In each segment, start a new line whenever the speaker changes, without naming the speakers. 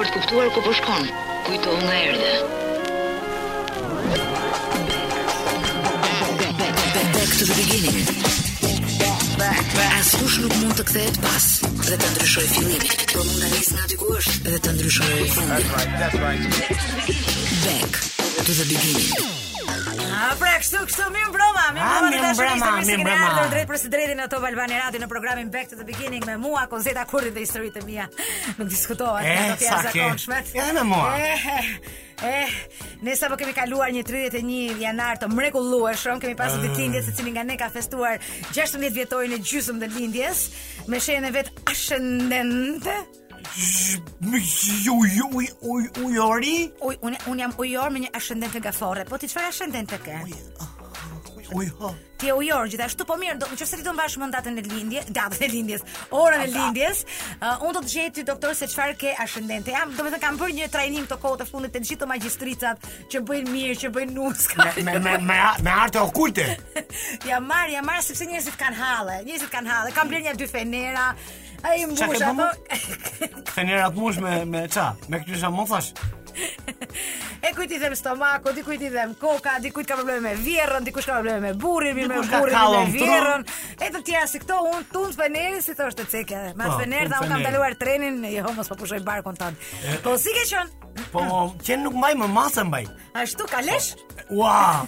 është kuptuar ku po shkon. Kujto nga erdhe. Back, back, back, back to the beginning. Askush nuk mund të kthehet pas dhe të ndryshoj fillimin, por mund ta nis nga diku është dhe të ndryshoj fundin. Back to the beginning.
A pra kështu kështu mirë mbroma, mirë
A,
mbroma të
mirë mbroma,
dashurisë, mirë se
mirë
keni
mbroma.
ardhur drejt për së drejti në Top Albani Radio në programin Back to the Beginning me mua Konzeta Kurri dhe historitë e mia. Nuk diskutohet,
E, Eh,
ato të Eh,
sa ke?
jashtëzakonshme.
Edhe me mua.
E, e, ne sapo po kemi kaluar një 31 janar të mrekullueshëm, kemi pasur
Ah.
ditëlindje se cili nga ne ka festuar 16 vjetorin e gjysmë të lindjes me shenjën e vet ascendente.
Ju ju u ujori?
Uj, unë un jam ujor me një ascendente gaforre. Po ti çfarë ascendente ke?
Uj ha.
Ti je ujor gjithashtu, po mirë, do nëse ti do mbash mend datën e lindjes, datën e lindjes, orën e lindjes, uh, unë do të gjej ty doktor se çfarë ke ascendente. Jam, domethënë kam bërë një trajnim këto kohë të fundit të gjithë të magjistricat që bëjnë mirë, që bëjnë nuska.
Me me me me, me arte okulte.
ja marr, ja marr sepse njerëzit kanë halle, njerëzit kanë halle. Kam bler një dy fenera. Ai
Çka ke
mbush
bë,
apo
Fenera të mush me me ça? Me këtyra mothash.
e kujt i them stomaku, dikujt i them koka, dikujt ka probleme me vjerrën, dikush ka probleme me burrin, mi me
Dikush ka
burrin, mi
kallon
me
tron.
vjerrën. E të tjera si këto un tund fenerin si thoshte cekja. Me
Po,
atë fener
tund
dha un kam
fenerin.
kaluar trenin, jo mos po pushoj barkun ton. Po si ke qen?
Po qen nuk mbaj më masë mbaj.
Ashtu kalesh?
Ua!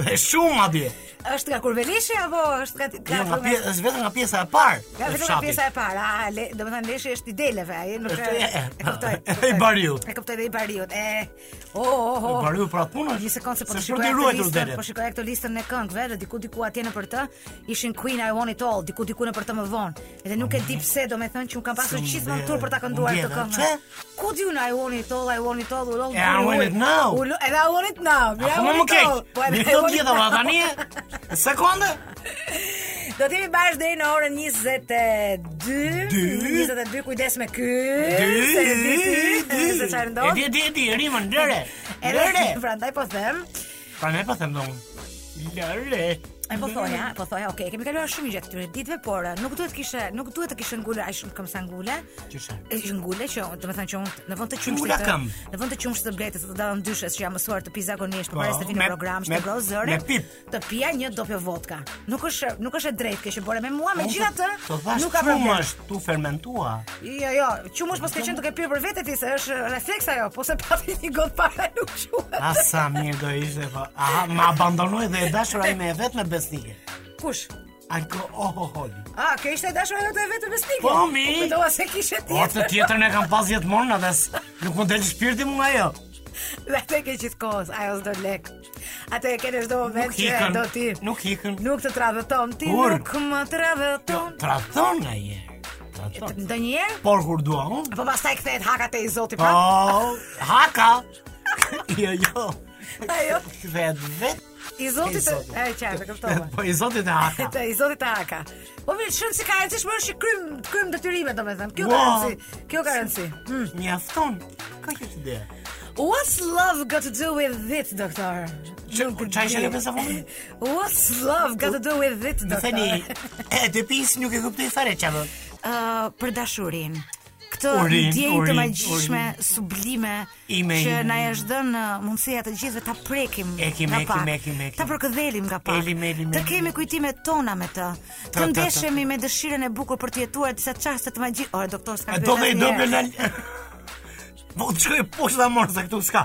Dhe shumë atje.
Është nga kurvelishi apo është nga
Jo, nga
nga-
pjesa, është vetëm nga pjesa e parë.
Ka vetëm nga pjesa e parë. Ah, le, domethënë leshi është i deleve, ai nuk
Është- e, e,
e kuptoj.
e, e,
kuptoj.
i bariut.
E kuptoj dhe i bariut. E. O, o, o.
Bariu pra punë.
Oh, Një sekond se po të
shkruaj
shikoj atë listën,
delet.
po shikoj atë listën e këngëve dhe diku diku atje në për të ishin Queen I Want It All, diku diku në për të më vonë. Edhe nuk e di pse, domethënë që un kam pasur
Shumë
gjithmonë
vlerë,
tur për ta
unë
kënduar këtë
vjedha.
këngë. Ku di un I Want It All, I Want It All, u lol.
E, I want it now.
U lol, edhe I Want It
A
Now. I
po më
want
më
it
keq.
all. Po, edhe
Mi
I
thot
want it
gjitha
now.
valla tani. Sekonde.
Do të jemi bashkë deri në orën 22.
Dy.
22 kujdes me ky.
Dy,
se di ti,
dy.
Se çfarë
E
ndodh?
di e di e di rimën lëre.
Edhe
Lëre.
prandaj po them.
Pra ne po them domun. Lëre.
E po thoja, po thoja, okay, kemi kaluar shumë gjatë këtyre ditëve, por eh, nuk duhet kishe, nuk duhet të kishe ngulur aq shumë këmbë sa ngule.
Qyshe.
E që ngule që, do të thënë që unë në vend të
Që
qumshit
ngula
të-
këmbë.
në vend të qumshit të bletës të dalën dyshes që jam mësuar të pi zakonisht
Po,
përpara se të vi
me-
në program,
me-
të vroj zërin,
me pip.
të pija një dopje vodka. Nuk është nuk është e drejtë kjo që bëre me mua,
Unë të-
megjithatë
të Po, thash
nuk ka problem.
Çumësh, tu fermentua.
Jo, jo, qumësh pas ke qenë të ke pirë për vetë ti se është refleks ajo, po se pati një gotë para nuk quhet.
A sa mirë do ishte po. Aha, më abandonoi dhe e dashura ime e vetë me besnike. oh,
Kush?
Alkoholi.
A, kjo ishte e dashur ajo të e vetë me stikë.
Po, mi. Po,
U Kujtova se kishe
O të
tjetër.
tjetër ne kam pas jetë morna dhe s- nuk më del shpirti më nga jo.
Dhe atë e ke gjithë kohës, ajo s'do lek. Atë e ke në çdo moment që
hikën,
do ti.
nuk hikën.
Nuk të tradhëton ti,
Kur?
nuk më tradhëton.
Tradhton nga jere. Tradhton.
Ndonjëherë,
Por kur dua unë.
po pastaj kthehet hakat e i zoti
Po,
prap.
haka. jo, jo.
Ajo
Vetë vetë.
i zotit të,
Zotit.
e qartë, e kuptova.
Po i zotit e haka.
Të i zotit të haka. Po mirë, shumë si ka rëndësish më është që krym, krym detyrime, domethënë. Kjo ka
Wow.
rëndësi. Kjo ka rëndësi. Mm.
Mjafton. Ka kjo ide.
What's love got to do with it, doktor?
Që- Çaj shënë me safunin?
What's love got to do with it,
Më thëni,
doktor?
e të pisë nuk e kuptoj fare çfarë.
Uh, për dashurinë. Këtë
Urin,
ndjenjë të
urin,
magjishme, sublime
Ime,
që
ime.
na është dhënë uh, mundësia të gjithëve ta prekim
Ekim,
nga
ekim,
pak,
ekim, ekim.
ta përkëdhelim nga pak,
Elim, elim,
të
elim.
kemi kujtimet tona me të,
ta, ta.
të ndeshemi me dëshirën e bukur për të jetuar disa çaste të magjike. Ore, doktor,
A
s'ka
do
pyet
dhe i
asnjëherë.
do me lal... Po të shkoj poshtë dhe morë, se këtu s'ka.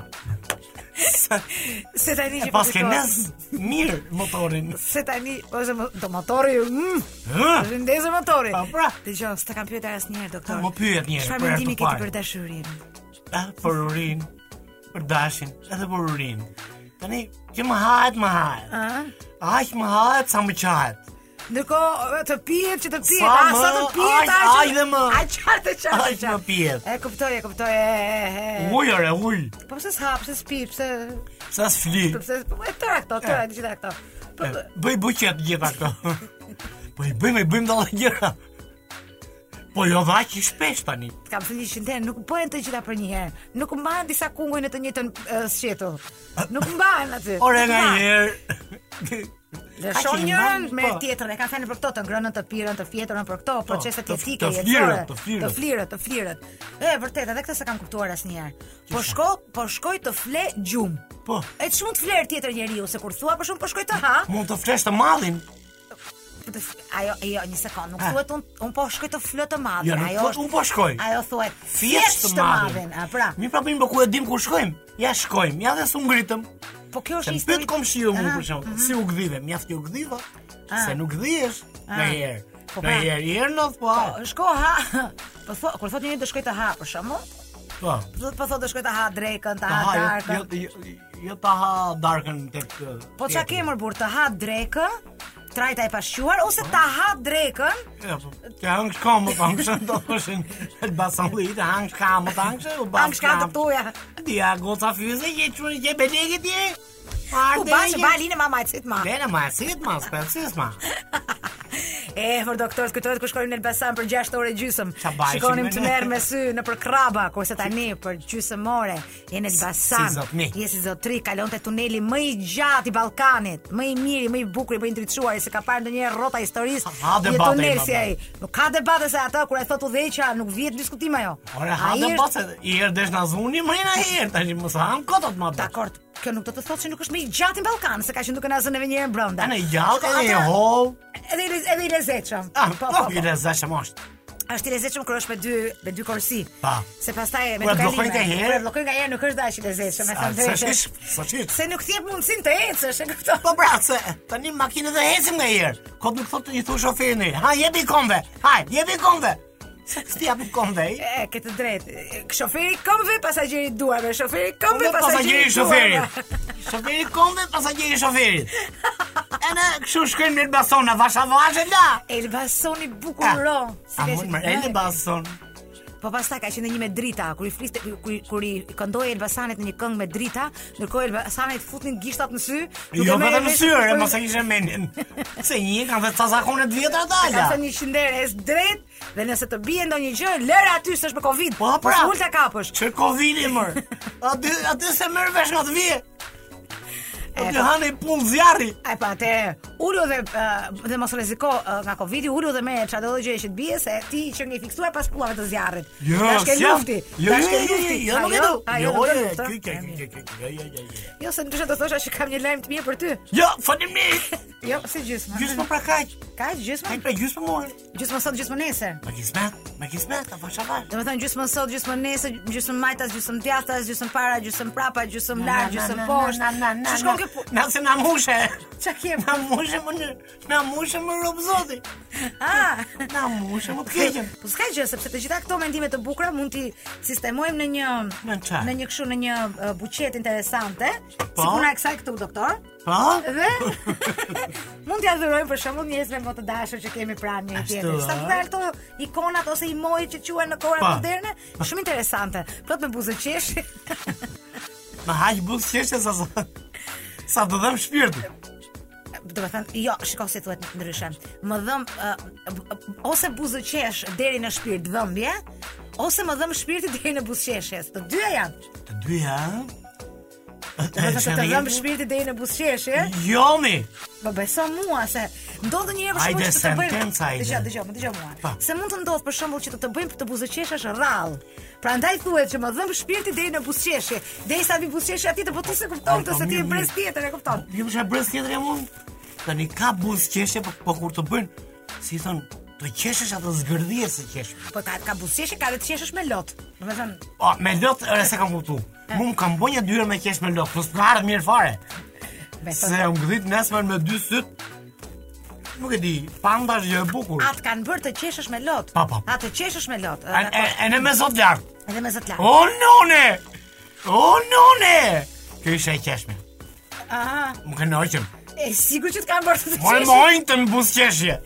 Se tani
E
që
pas
po
ke
kujtohet-
nes, mirë motorin.
Se tani, ose mo- do motori, mm,
Hë?
është ndezë motori.
Pa, pra.
Dëgjoj, s'ta kam pyetur asnjëherë doktor.
Po, më pyet një herë,
Çfarë
për herë
mendimi
të
ke ti
parë.
për dashurinë?
A, për urin, për dashin, edhe për urin. Tani, që më hahet, më hahet.
Ëh?
Aq më hahet, sa më qahet.
Ndërkohë të pihet që të pihet,
Sa
a
më,
sa të pihet,
aq,
a që-
aq dhe më.
A çfarë të çfarë? të
Aq
qartë.
më pihet.
E kuptoj, e kuptoj. E, e, e.
Ullër e ullë,
Po pse s'hap, pse s'pi, pse
sa s'fli.
pse po e tëra këto, tëra
E.
të gjitha këto. Po
E, Bëj buqet gjitha këto. Po i bëjmë, i bëjmë dalla gjëra. Po jo dhe aq i shpesh tani.
të kam thënë që ndër nuk bëhen të gjitha për një herë. Nuk mban disa kungoj në të njëjtën e, sqetull. Nuk mban aty.
Ore
Nuk
nga
mban.
një herë. Kaq
Lëshon
e
njërën
mban,
me
po.
tjetërën, e kanë fënë për këto, të ngrënën, të pirën, të fjeturën, për këto proceset
të f-
jetike,
të
jetore,
flirët, të flirët.
të flirët, të flirët. E vërtet, edhe këtë s'e kam kuptuar asnjëherë. Po shko, po shkoj të fle gjum.
Po.
E të shumë të fler tjetër njeriu, se kur thua për shumë po shkoj të ha,
Mund të flesh të mallin.
për të f- ajo jo, një sekond, nuk
Ah.
thuhet un un po shkoj të flë të madhin,
Jo, nuk
ajo.
thuhet,
është-
"Un po shkoj."
Ajo thuhet
Fjesht të madhin.
a pra.
Mi pra bëjmë po ku e dim ku shkojmë. Ja shkojmë, ja dhe s'u ngritëm.
Po kjo është
Se
një
më pyet
histori-
komshiu mu
Aha,
për shembull, si u gdhive? Mjaft ju gdhiva?
Ah.
Se é nuk gdhihesh
Ah.
në herë.
Po
Në
pra.
herë, i herë në po.
Po, shko ha. Po thua, kur thotë njëri të shkoj të ha për shembull,
Po.
do të po thotë të shkoj të ha drekën, të
Ta
ha
ha, jo-
darkën.
jo- jo- jo ta ha darkën tek uh,
Po çka
tjetri.
ke mër burr, të ha drekën, trajta e pashquar ose ta ha drekën?
Ja, po, Të hangsh kamë të hangshën të hëshin Të basan dhe i të hangsh kamë të hangshën U
Kam shka të tuja.
Dja goca fyze që që që belegit je
U
Ardhe
bash balin e mamajcit ma.
Dena ma esit ma, spetsis ma
E, për doktor, kujtohet kur shkonim në Elbasan për 6 orë e gjysmë.
Qa bajshim
Shikonim
me
të
ne?
merr me sy në për kraba, kurse tani për gjysmë ore je në
si
Elbasan.
zotni.
Je si zotri, kalon te tuneli më i gjatë i Ballkanit, më i miri, më i bukur, më i ndriçuar se ka parë ndonjëherë rrota historisë.
Ha, ha debate,
tunel
ima,
si ai. Nuk ka debate se ata kur e thot udhëheqja nuk vihet diskutim ajo.
Ore, ha
Ai
dhe
është-
pas I erë desh në zuni, mrena i erë Tashi mos hanë kotot ma bërë
Dakor, kjo nuk do të thotë se nuk është më i gjatë në Ballkan, se ka qenë duke na zënë edhe një herë brenda.
Në i gjallë,
Shko,
e i
ata-
hov
Edhe i lez- edhe i lezetshëm.
Ah, po, po, i rezashëm është
Është i lezetshëm kur është me dy me dy korsi.
Pa.
Se pastaj me
Kur e
dy
bllokojnë nga herë?
Kur e bllokojnë nga herë nuk është dash i lezetshëm, e
Sa
thënë
sa shish,
drejtë.
sa shish
Se nuk thjep mundësinë të ecësh, e kupton?
Po pra, se tani makinë dhe hecim nga i erë Kot nuk thotë i thu shoferin Ha, jebi komve, ha, jebi komve Sti japi komve, i
E, ke të drejtë. E, Shoferi këmbëve, pasagjeri duarve, shoferi
Kombe Po,
këmbëve,
jo, pasagjeri
pasagjeri
i
duarve.
shoferit. Shoferi kombe pasagjeri i shoferit. E ne kështu shkojmë në Elbason, na vasha vashe la.
Elbasoni bukur
Ah,
ro. Si
A
ka
mund
qenë-
më Elbason?
Po pastaj ka qenë një me drita, kur i fliste kur i- kur i këndoi Elbasanit në një këngë me drita, ndërkohë Elbasanit futnin gishtat në sy. duke
Jo
merrë
vetëm në
vesh-
syre, mos e kishe menin. Se një kanë vetë sa zakone të vjetra të
Ka
ala.
thënë një qindere e drejt dhe nëse të bie ndonjë gjë, lër aty s'është me Covid.
Po pra.
Mos ta kapësh.
Që Covidi mër. Aty aty se merr vesh nga të vje. Aty
po.
hanë i punë zjarri.
Ai pa atë, ulu dhe ë, dhe mos rreziko ë, nga Covidi, ulu dhe me çfarëdo gjë që të bie se ti që nge fiksuar pas pullave të zjarrit.
Jo,
Tash ke
s'jam.
lufti.
Jo,
tash
jo,
ke
jo, jo,
lufti.
jo,
A,
nuk e do.
A,
Jo,
nuk
jo,
e do,
ky, ky,
E,
ky,
mirë.
ky, ky, jo, jo, jo, jo.
Jo, se ndryshe do thosha që kam një lajm të mirë për ty.
Jo, faleminderit.
Jo, si gjysmë.
Gjysmë pra kaq.
Ka gjysmë?
Kaq pra gjysmë more.
Gjysmë sot, gjysmë nesër.
Me kismet, me kismet, a vasha vash.
Do të thënë gjysmën sot, gjysmën nesër, gjysmën majtas, gjysmën djathtas, gjysmën para, gjysmën prapa, gjysmën larg, gjysmën poshtë. Që shkon ke punë?
Na se na mushe.
Qa ke?
Na mushe më në, na mushe më rob zoti.
Ah!
Na mushe më të keqen.
Po s'ka gjë, sepse të gjitha këto mendime të bukura mund t'i sistemojmë në një
Në çfarë?
në një kështu në një uh, buqet interesante,
Po?
si puna e kësaj këtu doktor.
Po?
Dhe mund t'ja dhurojmë për shembull njerëzve më të dashur që kemi pranë një
Ashtu,
tjetër. Sa
a?
të dalë këto ikonat ose imojt që quhen në kohën
Po.
moderne, shumë interesante. Plot me buzë qeshi.
Ma haq buzë qeshte sa sa. Sa të dhem shpirti.
do të thënë, jo, shiko si thuhet ndryshe. Më dhëm uh, ose buzëqesh deri në shpirt dhëmbje, ose më dhëm shpirti deri në buzëqeshjes. Të dyja janë.
Të dyja, ha?
Do të thënë se të dhëm shpirti deri në buzëqeshje,
Jo mi.
më beso Po mua se ndodh ndonjëherë për
Hajde,
shembull që të
sentenca,
të bëjmë.
hajde. Po.
Dëgjoj, dëgjoj, më dëgjoj mua.
Pa.
Se mund të ndodh për shembull që të të bëjmë të buzëqeshësh rrall. Prandaj thuhet që më dhëm shpirti deri në buzëqeshje, derisa vi buzëqeshja ti të botë se kupton
Ai, po,
të se ti e
mirë,
brez
mirë.
tjetër, e kupton.
Ju përshë brez tjetër jam unë. Tani ka buzë qeshje, po, po kur të bëjnë, si thon, të qeshesh atë zgërdhje se qesh.
Po ka ka buzëqeshje, ka dhe të qeshësh me lot. Do të thënë,
O, Ah, me lot, ore se kam kuptu.
Eh.
Mu më kam bënja dyre me qesh me lot, plus më ardhë mirë fare.
beso.
Se unë gdhit nesër me dy syt. Nuk e di, panda është gjë e bukur.
Atë kanë bërë të qeshësh me lot.
Pa, pa.
Atë të qeshësh me lot.
E- E
ah.
e ne me sot lart.
Edhe me zot lart.
O none! O none! Kjo ishe e qeshme.
Aha.
Më kënë oqëm.
E sigurt që të kanë bërë të
Moj
qeshësh.
më ojtëm bus qeshje.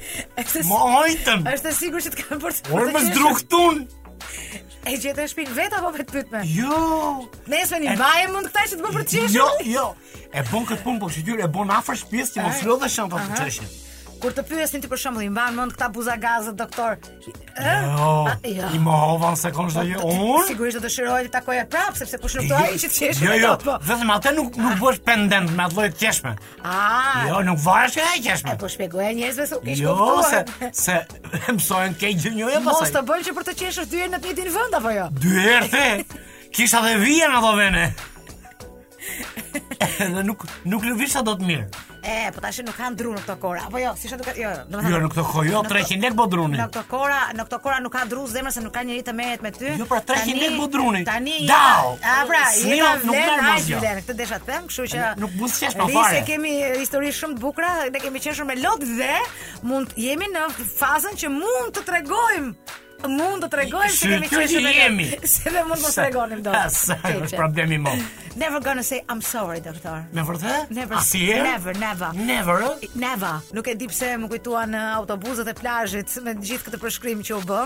Është
Më
si-
ojtëm.
Është e sigurt që të kanë bërë të
Orë më
qeshësh.
zdruk tun.
E gjetë në shtëpi vetë apo me të pyetme?
Jo.
Nesër një
E-
baje mund këta që të bëjë për të qeshur. Eh.
Jo, jo. E bon këtë punë, po shqytyr, e bon afër shtëpisë që mos lodhesh në të të qeshje.
Kur të pyesin ti për shembull, i mban mend këta buza gazët, doktor? Ë?
Jo,
A, jo.
i mohova se kon çdo gjë. Unë
Sigurisht do dëshiroj të takoja prapë sepse kush nuk do ai që të qeshë.
Jo,
me
jo,
to, po.
vetëm atë nuk nuk bësh pendent me atë lloj të qeshme.
Ah,
Jo, nuk varesh nga e qeshme.
e po shpjegoja njerëzve se u kish
Jo, se
kuptuar.
se mësojnë të keq gjënjoja
Mos
pasaj.
të bëjnë që për të qeshur dy herë në të njëjtin vend apo jo?
Dy herë the. Kisha dhe vija në ato vene. Edhe nuk nuk lëvisha dot mirë.
E, po tash nuk kanë dru në këto kora. Apo jo, si duket, jo, domethënë.
Jo, në këto kohë, jo,
Në këto-
300 lek bodruni.
Në këto kora, në këto kora nuk ka dru zemra se nuk ka njerëz të merret me ty.
Jo, pra, 300
Tani-
lek bodruni.
Tani.
Dau!
A pra,
S'njo,
jeta
nuk
vlen,
merr
hajt
asgjë.
vlen. Këtë desha të them, kështu që
Nuk mund s'qesh ma
Ri
fare.
Se kemi histori shumë të bukura, ne kemi qeshur me lot dhe mund jemi në fazën që mund të tregojmë mund të tregojmë se
Sy,
kemi
kjo
qeshur
që
me
jemi.
lot. Se dhe mund mos
Sa-
tregonim dot.
Ha, Sa pra-
Keqe.
është problemi më.
Never gonna say I'm sorry, doktor.
Me vërtet?
Never.
Asnjëherë?
Never, never.
Never. ë?
Neva, nuk e di pse më kujtuan uh, autobuzët e plazhit me gjithë këtë përshkrim që u bë.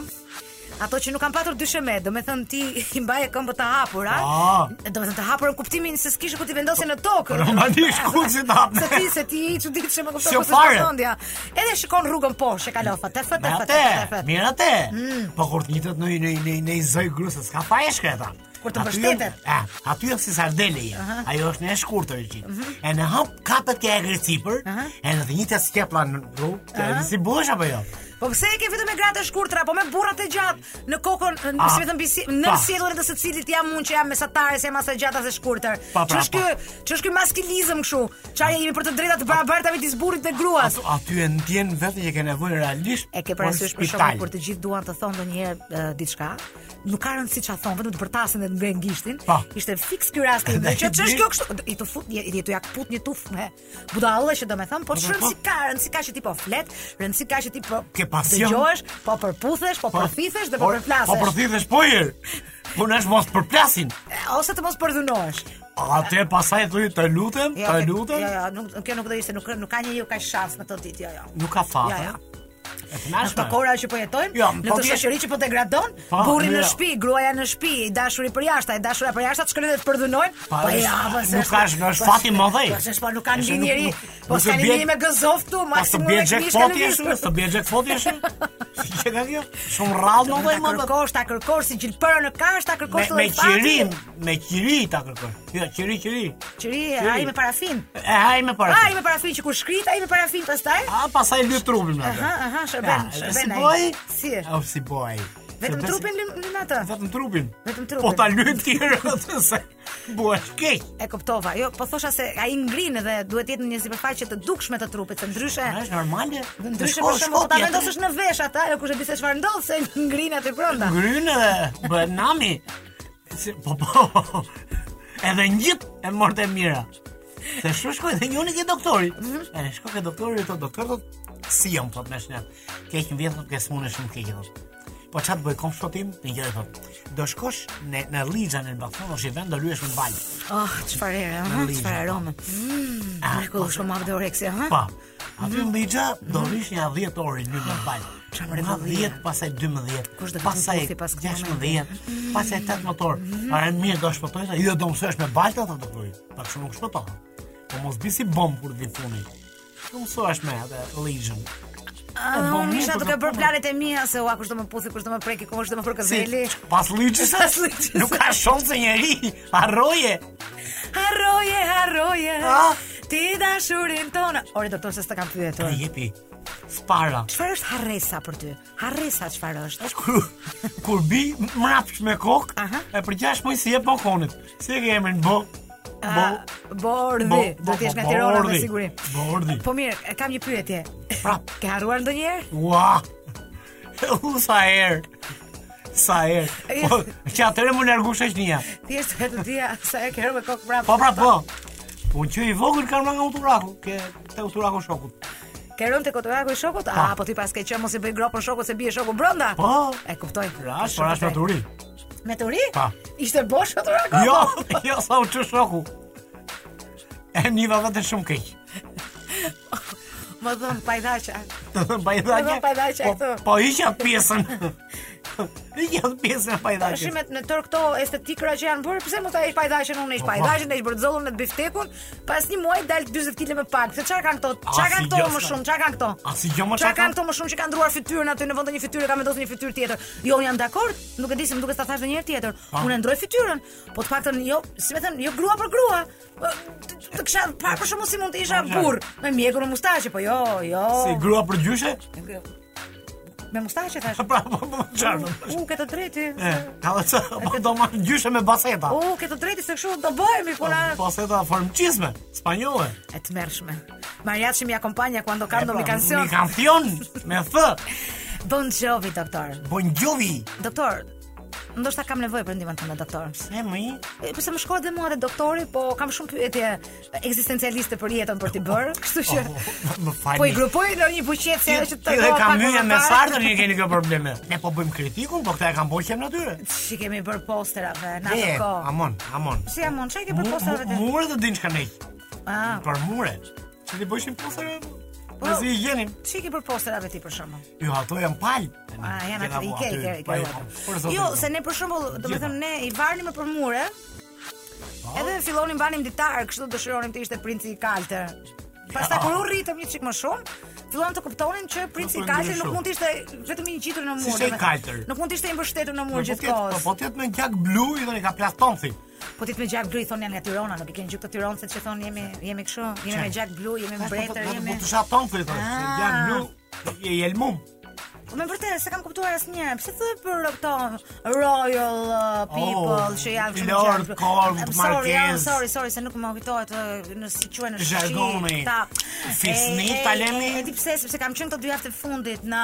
Ato që nuk kanë patur dysheme, do me thënë ti i mbaje këmbët të hapura
Ah. Po,
Do me thënë të hapura në kuptimin se s'kishe ku ti vendosin në tokë
Normalisht ku si ta.
Se ti, se ti i që ditë që më kupton
Si o
ku si
fare.
përstondja Edhe shikon rrugën poshtë që kalofa, të fë, të fë, të fë, të
Mirate,
fë
mirate.
Mm.
Po kur të njitet në në në në zoj gruse, s'ka fare shkreta.
Kur të
Aty
mbështetet.
janë- A, aty është si sardele je. Ajo është në e shkurtër e gjithë.
Mhm.
E në hap kapet ke e grecipër, e në të njëjtë skepla në rrugë, e si bësh apo jo?
Po pse e ke vetëm me gratë e shkurtra, po me burrat e gjatë në kokën, në
A,
si vetëm bisi, në
Ah, pa.
sjelljen e së cilit jam unë që jam mesatare, se jam as e gjatë as e shkurtër.
Pa, pra,
Ç'është ky, ç'është ky maskilizëm kështu? Çfarë jemi për të drejtat të barabarta midis burrit dhe gruas?
Ato aty e ndjen vetë që ke nevojë realisht.
E ke
për
parasysh për
spital.
shkakun kur të gjithë duan të thonë ndonjëherë e, diçka, nuk ka rëndësi ç'a thon, vetëm të përtasin dhe të ngrenë gishtin.
Pa.
Ishte fiks ky rast i që ç'është kjo kështu, i të fut, i të jak put një tuf me budallë që do me thënë,
Po,
po
po,
ç'rëndësi
po.
ka, rëndësi ka që ti po flet, rëndësi ka që ti po
Ke pasion.
dëgjohesh, po përputhesh, po përfithesh dhe po
Po
përflasesh.
përthithesh po jer. Puna është mos përplasin.
Ose të mos përdhunohesh.
Atë pasaj thuj të lutem,
Jo,
të
ke-
lutem.
Jo, jo, nuk kjo nuk do ishte, nuk nuk ka njeriu kaq shans në këtë ditë, jo, jo.
Nuk ka fat.
Jo, jo.
E të
Në
nashme.
këto kohëra që po jetojmë,
Jo,
në
po
këtë
vjen-
shoqëri që po degradon,
Po,
burri në
mira.
shtëpi, gruaja në shtëpi, i dashuri për jashtë, i dashura për jashtë, të shkëlqen të përdhunojnë.
Pa,
Po
është-
ja, po
nuk ka- është- është fati i madh ai.
Po s'është po nuk kanë
Është,
linjë
nuk-
njeri,
nuk-
po
nuk e
s'ka
bie-
linjë me gëzof këtu,
Pas Po, të
maksimum
bie
me mishka
jackpoti
lëviz.
është, të bie jackpoti është. Si që ka kjo? Shumë rrallë më
Ta
vjen më.
kërkosh, ta kërkosh si gjilpërë në kash, ta
Me
kërkosh
me
lloj fati.
qirim, me qiri ta kërkoj. Jo, qiri, qiri.
Qiri,
Qiri.
ai me parafin.
E haj me para.
Ai me parafin që kur shkrit, ai me parafin pastaj.
A pasaj lyp trupin me atë.
Aha, aha, shërben,
Ja,
shërben.
Si
ai.
boj?
Si është?
O, si boj?
Vetëm
Shërben si-
trupin lën lën atë.
Vetëm trupin.
Vetëm trupin.
Po ta lyp ti atë se bëhesh keq.
E kuptova. Jo, po thosha se ai ngrin dhe duhet të jetë në një sipërfaqe të dukshme të trupit, se ndryshe
A, Është normale.
ndryshe për shembull po ta vendosësh në vesh atë, ajo kush e di se çfarë ndodh se ngrin aty brenda.
Gryn edhe bëhet nami. Si, po po. Edhe ngjit e morë të mira. Se shu shkoj dhe njëri ke doktori. E shkoj ke doktori thot doktor thot si jam thot me shnet. Ke një vjet thot ke smunë shumë keq thot. Po çat bëj kom shtotim, në gjë thot. Do shkosh në në Ligja në Balkon ose vend do lyesh në bal.
Oh, çfarë herë,
Në
ha,
ligjë,
çfarë arome. Mm.
Ah,
Mrekullu
po,
shumë ma vdoreksia, ha?
Pa. Aty në Ligja do rish një 10 orë në në bal.
Qa
Nga
mrekullie.
10, pasaj 12,
Kush do të
pasaj
puthi pas këtij
16, pasaj 8 motor. Are mirë do shpëtoj, tha, jo do mësohesh me balta ato të kruj. Pak shumë nuk shpëtoj. Po mos bisi bomb kur vi funi. Nuk mësohesh me atë ligjën.
Ah,
E, bon,
unë
mirë,
isha
po
duke
të
bërë
punë.
planet e mia se ua kush do më puthi, kush do më preki, kush do më përkëzeli.
pas ligjës,
Pas ligjës.
nuk ka shanse njeri. Harroje.
Harroje, harroje.
Ah.
Ti dashurin tonë. Ore doktor se s'të kam
Të
pyetur.
jepi spara.
Çfarë është harresa për ty? Harresa çfarë është?
Tash kur kur bi mrapsh me kokë,
Aha.
e përgjash më si e pokonit. Si e ke emrin bo? Bo.
Ah, Bordhi,
Bo-
do të jesh nga
bo-
Tirana me
Bordhi.
siguri.
Bordhi.
Po mirë, e kam një pyetje.
Prap.
Ke harruar ndonjëherë?
Ua! U sa herë. Sa herë. Po, që atëre më largu shoqënia.
Thjesht e të dia sa e ke harruar me kokë prapë.
Po pra po. Po që i vogël kam nga uturaku, ke te uturaku shokut.
Ke rënë te kotoraku i shokut? Ah, po ti pas ke qenë mos i bëj gropën shokut se bie shoku brenda.
Po.
E kuptoj.
Rash,
E
po rash
kuptoj.
me turi.
Me turi?
Pa.
Ishte bosh kotoraku?
pra. Jo, jo sa u çu shoku. E niva vetë shumë keq.
Më thon pajdhaqa.
Bajdhaqe.
Po, bajdhaqe
po,
këtu.
po isha pjesën. janë pjesë e pajdaqjes.
Shimet në tër këto estetikra që janë bërë, pse mos ai pajdaqen unë
Po,
ish pajdaqen, ai bërzollën në biftekun, pas një muaji dal 40 kg më pak. Se çfarë kanë këto? Çfarë
Ah, si
kanë këto
gjos
më
ka-
shumë? Çfarë kanë këto?
A si gjë më
Çfarë
çfarë
kanë
kanë?
këto më shumë që kanë ndruar fytyrën aty në vend të një fytyre ka vendosur një fytyrë tjetër. Jo, unë jam dakord, nuk e di se më duket ta thash ndonjëherë tjetër. Unë e ndroj fytyrën, po të paktën jo, si më thën, jo grua për grua. Ë, Të të kisha pa për shkakun si mund të isha
Po, qartë.
burr me mjekur me mustaqe, po jo, jo.
Si grua për gjyshe?
Me mustaqe thash.
Pra, po po çfarë?
U, u, ke të drejtë.
E, ka dhe që, po do marr gjyshe me baseta.
U, ke të drejtë se kështu do bëhemi puna
Baseta formqizme, spanjolle.
e të mërshme. Mariachi mi acompaña cuando canto
E,
mi
pra,
canción.
Mi kancion, me thë,
Bon Jovi, doktor.
bon gjovi.
Doktor, ndoshta kam nevojë për ndihmën tënde, doktor.
E më i,
E, Pse më shkoj dhe mua dhe doktori, po kam shumë pyetje ekzistencialiste për jetën për t'i bërë, kështu që
më falni.
po i grupoj në një buqet se ajo që të
dhe
tregova
kam
pak më
hyrë me
parë.
sartën që keni kjo probleme. Ne po bëjmë kritikun, po këta e kam bërë qem natyrë.
Shi kemi bërë posterave, na
E,
të ko.
amon, amon.
Si jamon, çaj ke
Mu-
bërë posterave
mu-
të?
Mure të dinë shka nej,
Ah,
për mure. Që ti bëshim posterave,
Po.
nësi i jenim.
çi ke bërë posterave ti për shkakun?
Jo, ato janë palë.
A, janë
Kena
atë i
bu
ke, i
aty,
ke, i
pa,
ke.
jo,
ota.
për zotin,
Jo,
jo.
se ne për shembull, domethënë
Gjitha. Po.
ne i varnim për mure. Edhe fillonim banim ditar, kështu dëshironim të ishte princi i kaltër. Pastaj kur u rritëm një çik më shumë, filluam të kuptonin që princi i
Nuk u
kaltër nuk
ndryshu.
mund të ishte vetëm i një qitur në mur.
Si ishte i
domethënë.
kaltër?
Nuk mund të ishte i mbështetur në
Po
mur
tjetë- po
gjithkohë.
po tjetë me gjak blu, i thoni ka plaston si.
Po ti të me gjak blu i thonë janë nga Tirana, nuk i kanë gjuk të Tiranës se që thonë jemi jemi kështu, jemi me
Qartë.
gjak blu, jemi me bretër, jemi.
Po të shaton si, i thoni.
Ah.
Gjak blu, i i elmum.
Po me vërtetë se kam kuptuar asnjëherë. Pse thua për këto royal uh, people
Oh,
që janë kështu
Lord
gjatë-
Colt,
I'm sorry, ja,
Marquez.
Sorry, sorry, se nuk më kujtohet uh, në si quhen në Shqip.
Zhargoni. Fisni,
E, e,
talemi.
E, e, di pse, sepse kam qenë këto dy javë të fundit në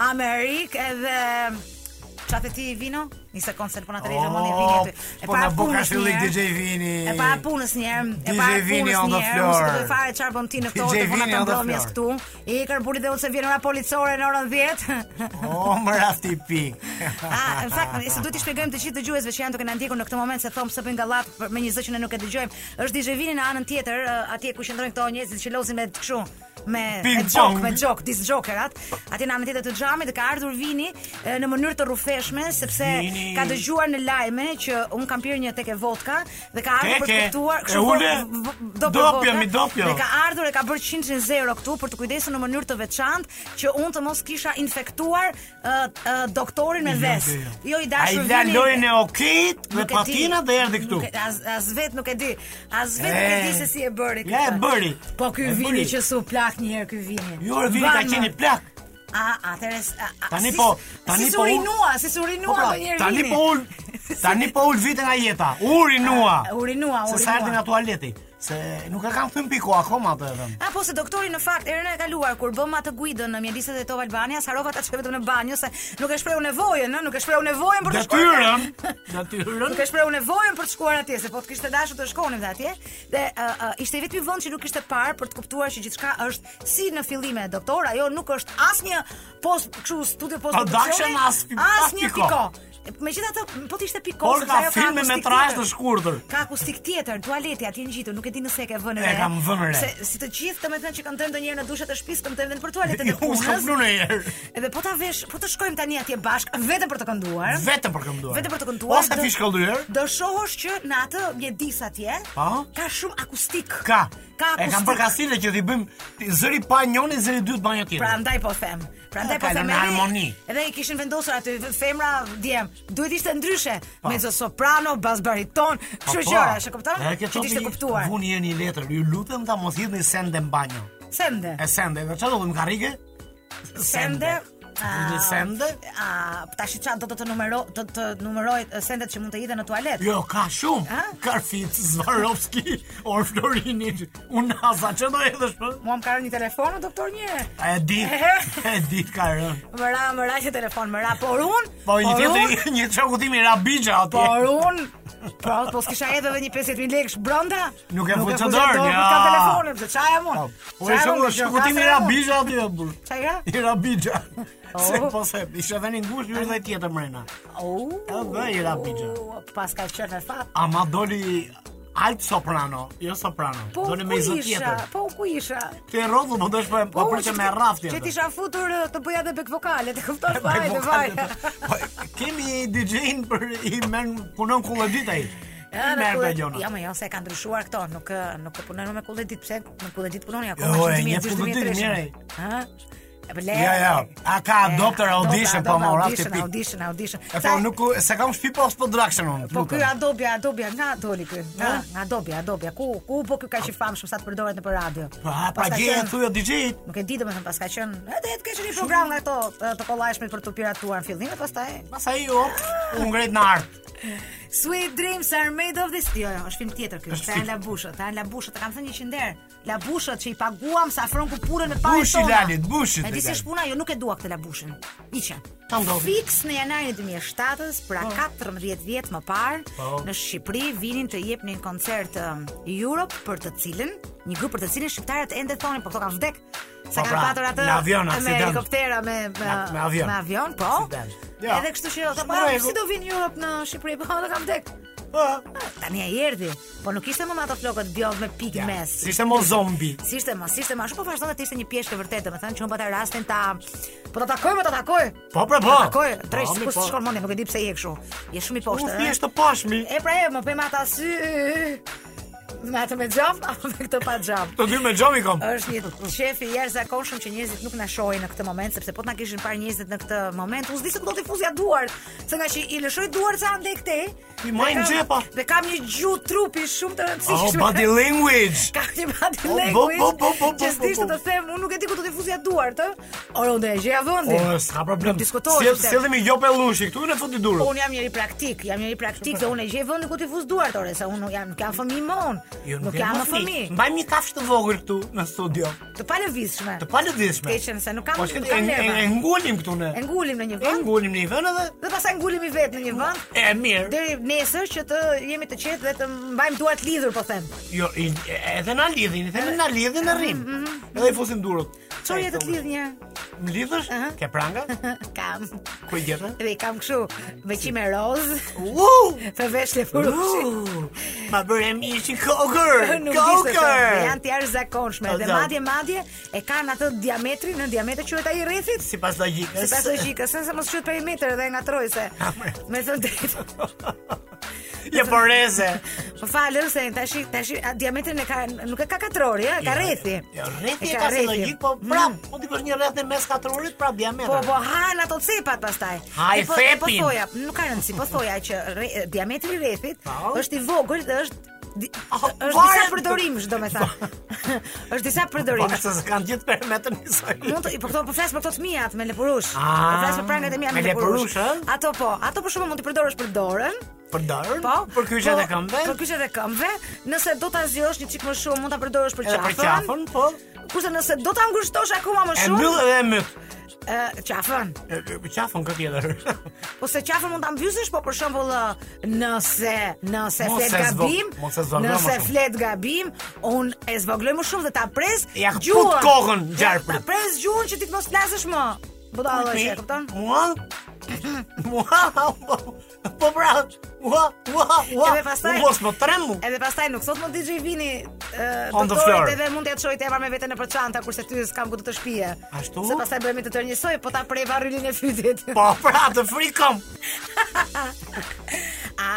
Amerikë edhe Çfarë ti vino? Një sekond se po na tregoj më një vini aty. E
po
para
na bo
punës
kashillik
një herë.
DJ Vini.
E para punës një herë, e
DJ
para
Vini
punës
on
një
the
herë, mos
floor.
do fare çfarë bëm ti në këto
DJ
orë, po
Vini
na të
on the
mbrëmjes këtu.
floor.
I kërburit dhe unë se vjen ora policore në orën 10.
O, më rasti pik.
Ah, në fakt, se duhet t'i shpjegojmë të gjithë dëgjuesve që janë duke na ndjekur në këtë moment se thom se bëjnë gallat për- me një zë që ne nuk e dëgjojmë. Është DJ Vini në anën tjetër, eh, atje ku qëndrojnë këto njerëz që lozin me kështu me
Ping
me gjok,
pong.
me gjok, dis jokerat. Atje në anën tjetër të xhamit dhe ka ardhur Vini eh, në mënyrë të rrufeshme sepse
Vini.
ka dëgjuar në lajme që un kam pirë një tek e vodka dhe ka ardhur për të
Teke,
kuptuar
e
po,
une,
v- do për
dopjo,
vodka,
mi dopjo.
Dhe ka ardhur e ka bërë 100-0 këtu për të kujdesur në mënyrë të veçantë që unë të mos kisha infektuar uh, uh, doktorin me ves. Jo
Ai
i dashur
la
vini.
lojën e okit me
Nuk e di.
patina dhe erdhi këtu. Eh.
Nuk e- As, as vet nuk e di. As vet nuk e di se si e bëri
Ja e bëri.
Po ky
E
vini
bëri.
që su plak një herë ky vini.
Jo, e vini ka
Mban
qenë
më.
plak.
A, atëherë s- a, a,
Tani
si-
po- tani
si
po-
Surinua, si
Po
surinua
pra,
ndonjëherë.
tani
vini.
po ul, tani po ul vite nga jeta. Uri nua.
Urinua, urinua.
Se sa erdhi nga tualeti, se nuk e kam thënë piku akoma atë edhe.
A po se doktori në fakt erën e kaluar kur bëm atë guidën në mjediset e Top Albanias, harova ta çoj vetëm në banjë se nuk e shprehu nevojën, ë, nuk e shprehu nevojën për të shkuar.
Detyrën,
Nuk
detyrën.
e shprehu nevojën për të shkuar atje, se po të kishte dashur të shkonim dhe atje. Dhe uh, uh, ishte vetëm vend që nuk ishte parë për të kuptuar që gjithçka është si në fillime doktor, ajo nuk është asnjë post, kështu studio post
Production, as pi- as
asnjë
piko.
piko. Megjithatë, po të ishte piko,
Por
sepse
ka
ajo
filme
akustik
me trazh
tjetër.
të shkurtër.
Ka akustik tjetër, tualeti atje ngjitur, nuk e di nëse e ke vënë
E kam vënë re.
Se si të gjithë domethënë që këndojnë ndonjëherë në dushat e shtëpisë, këndojnë edhe për tualetet e
Unë s'kam
punës.
plu në herë.
Edhe po ta vesh, po të shkojmë tani atje bashk, vetëm për të kënduar.
Vetëm për kënduar.
Vetëm për të kënduar.
Po. Ose
do-
ti shkëllyer?
Do shohësh që në atë mjedis atje
Po.
ka shumë akustik.
Ka.
Ka
E kam
akustik.
për kasile që ti bëjmë ti- zëri pa njëri, zëri dy të banja tjetër.
Prandaj po them. Prandaj
Ka
po them.
në
edhe-
harmoni.
Edhe i kishin vendosur aty femra djem. Duhet ishte ndryshe, mezzo soprano, bas bariton,
Po,
kështu
po.
gjëra, e kupton?
Edhe kjo
Që t'ishte
thotë i-
kuptuar.
Vuni jeni një letër, ju lutem ta mos hidhni sende në banjo.
Sende.
E sende, dhe çfarë do të më karrige?
Sende. ah.
Një sende?
A, tash çfarë do të të numero do të numerohet eh, sendet që mund të hidhen në tualet?
Jo, ka shumë.
Ha?
Karfic, Zvarovski, Or Florini, Unaza, që do hedhësh për?
Mua më ka rënë një telefon, o, doktor një.
E di, e di ka rënë.
Më ra, më ra që telefon, më ra, por unë,
Po një
unë,
tjetër, një çokutim i Rabixha atje.
por unë, po, po s'kisha edhe dhe një 50.000 lekësh brenda.
Nuk e futë
futë
dorën,
dorën,
ja.
Ka po telefonin, pse çaja
Po,
mund.
Po e shoku shkutim i Rabixha atje, burr.
Çaj ra?
I Rabixha. Se
Oh.
po se, isha vënë ngushtë, hyrë dhe tjetër mrena. Edhe i Rabixha.
Pas ka qenë në fat.
Ama doli alt soprano, jo soprano.
Po,
doli
ku
me izot
isha?
tjetër.
Po, ku isha?
Ti e rrodhu, po dosh po po
Po,
përqe
që
me
ti-
rraft
Që ti
tjetër.
isha futur eh, të bëja dhe back vokalet, e kupton?
Me
Vajte,
vokale
vajte.
të- Po kemi DJ-in për i merr punon kullë ditë ai.
Ja,
I merr me gjona.
Ja, më jo se kanë ndryshuar këto, nuk ë, nuk po punojnë me kullë ditë, pse me kullë ditë punoni
Jo,
akoma
e,
që
një
2000
kullë ditë,
2003.
mirë,
Ha? E për le.
Ja, ja. A ka
E,
adopter
adopter,
audition po
adopter,
më ora ti
audition,
pik.
audition, audition.
E po
Sa-
nuk u- se kam shtëpi pas po production unë.
Po ky
lutem.
Adobe, Adobe, nga doli ky?
Ha?
Nga nga Adobe, Adobe. Ku ku po ky ka qenë famshëm sa të përdoret nëpër radio?
Po, a, pra
Pas ka
gjeja
qenë-
thuj o DJ-it.
Nuk e di domethënë pas ka qenë, edhe të ka qenë një program nga ato të, të kollajshme për të piratuar në fillim e pastaj
Pas ai u u ngret në art.
Sweet Dreams are made of this. Jo, jo, është film tjetër ky.
Është
Është janë
film.
labushët, janë labushët, e kam thënë 100 herë. Labushët që i paguam sa afron ku punën me parë
Bushi
tona.
Lalit, bushi
E
te
di si
Lalit.
është puna, jo nuk e dua këtë labushin. Hiqen.
Sa ndodhi?
Fiks në janarin e 2007-s, pra 14 vjet më parë,
Po.
në Shqipëri vinin të jepnin koncert um, Europe për të cilën, një grup për të cilin shqiptarët ende thonin, po këto kanë vdek. Sa
Po,
kanë
pra,
patur atë
në avion,
me
aksident.
helikoptera me me,
Me- me avion.
me avion, po.
Aksident. Ja.
Edhe kështu që ata
S'po
po
rregull.
si do vinë Europe në Shqipëri, po ata kanë vdek.
Po.
Tani e erdhi, po nuk ishte më me ato flokët bjodh me pikë
Ja,
mes.
Si ishte mo zombi.
Si ishte mos ishte më ashtu po vazhdonte të ishte një pjeshkë e vërtetë, domethënë që unë po ta rastin ta po ta takoj, po ta takoj.
Po, pra, po.
Ta Takoj,
Po,
drejt
mi,
sikur
po.
të shkon mendja, nuk e di pse je kështu. Je shumë i
U
poshtë.
thjesht të pashmi.
E pra e, më bëjmë ata sy me atë me xham apo me këtë pa xham.
Të dy me gjomi kom.
Është një shef i jashtëzakonshëm që njerëzit nuk na shohin në këtë moment sepse po të na kishin parë njerëzit në këtë moment, u zdi se do të fuzja duar, se nga që i lëshoj duart sa ande këtej.
I majnë
dhe kam-
xhepa.
Dhe kam një gjuhë trupi shumë të
Oh,
rëndësishme.
body language.
Ka një body
O,
language.
bo, bo, bo, bo, bo,
që s'dishte
bo, bo.
të them, unë nuk e di ku do të fuzja duart, ë? Ora unë e gjeja
O,
vendin.
Oh, s'ka problem.
Nuk diskutohet,
Sjell-
sepse-
Sjellim i gjopë lushi këtu në fut i
Po
durrës.
unë jam njëri praktik, jam njëri praktik dhe unë e gjej vendin ku ti fuz duart, ore, se unë nuk jam, nuk jam fëmijë më unë.
Jo,
nuk jam më fëmijë.
Mbajmë një kafshë të vogël këtu në studio,
Të palëvizshme.
të palëdishme.
Keqen se nuk kam
Po
nuk
shkëtë
kam
e, e, e
nerva.
ngulim këtu në.
E ngulim në një
E
vend
ngulim në një vend edhe
dhe pastaj ngulim i vet në një vend
e mirë.
deri nesër që të jemi të qetë dhe të mbajmë duart lidhur po them.
Jo, i, e- edhe na lidhin, i themi na lidhin në rrim. Edhe i fusim durrët.
Mm, Çfarë jetë të lidh një?
Më lidhësh? Ke pranga?
Kam.
Ku i gjetë?
Dhe i kam kështu me qime roz,
U!
përveç le
U! Ma bëre mishi kokër.
nuk di se
Kokër.
çfarë, janë të jashtëzakonshme.
O,
Dhe
zot.
madje madje e kanë atë diametrin, në diametër quhet ai rrethit.
Sipas logjikës.
Sipas logjikës, se mos quhet perimetër dhe e ngatroj se. Me thënë drejtë.
Je poreze.
Po falë se tash tash a, diametrin e ka nuk e ka katrori, ë, ka rrethi.
Jo, rrethi
E
e ka si
rrethin.
logjik, po prap, po ti bësh një rreth në mes katrurit, prap
Po
diametër.
po han ato cepat pastaj.
Ha, i
E po, e po
thepin.
thoja, nuk ka rëndësi, po thoja që rre- e, diametri i rrethit
Po.
është i vogël dhe është di-
Ah,
është disa
varet.
përdorimsh, domethënë. është disa përdorimsh.
Po, se s'kan gjithë perimetrën njësoj.
Mund të po këto po flas për këto të mijat me lepurush.
Ah,
Po flas për prangat e mia me
me
lepurush.
lepurush, ë?
Ato po, ato për shkakun mund të përdorësh për dorën,
Për dorën,
po.
për kyçet
po,
e këmbëve,
Për kyçet e këmbëve, nëse do ta zgjosh një çik më shumë, mund ta përdorësh për
edhe
qafën.
për qafën, po.
Kurse nëse do ta ngushtosh akoma më
E
shumë,
mbyll edhe e mbyll.
ë qafën.
E, e, Qafën ka tjetër.
Po se qafën mund ta mbysysh, po për shembull ë, nëse nëse
Mos
flet
e zvo-
gabim,
mos e zvogloj më
nëse
shumë.
flet gabim, un e zvogloj më shumë dhe ta pres
Ja kput
gjuhën.
kokën, gjarpri.
Ta pres gjuhën që ti të mos flasësh më. Po Budalla që e kupton?
Mua? Mua? po- Po pra, mua, mua, mua.
Edhe pastaj-
Unë mos më tremu.
Edhe pastaj nuk thot më DJ Vini ë,
On the floor.
doktorit edhe mund t'ja çoj tema me veten në përçanta kurse ty s'kam ku të të shpije.
Ashtu?
Se pastaj bëhemi të tërë njësoj, po ta prej varrylin e fytit.
Po pra, të frikëm.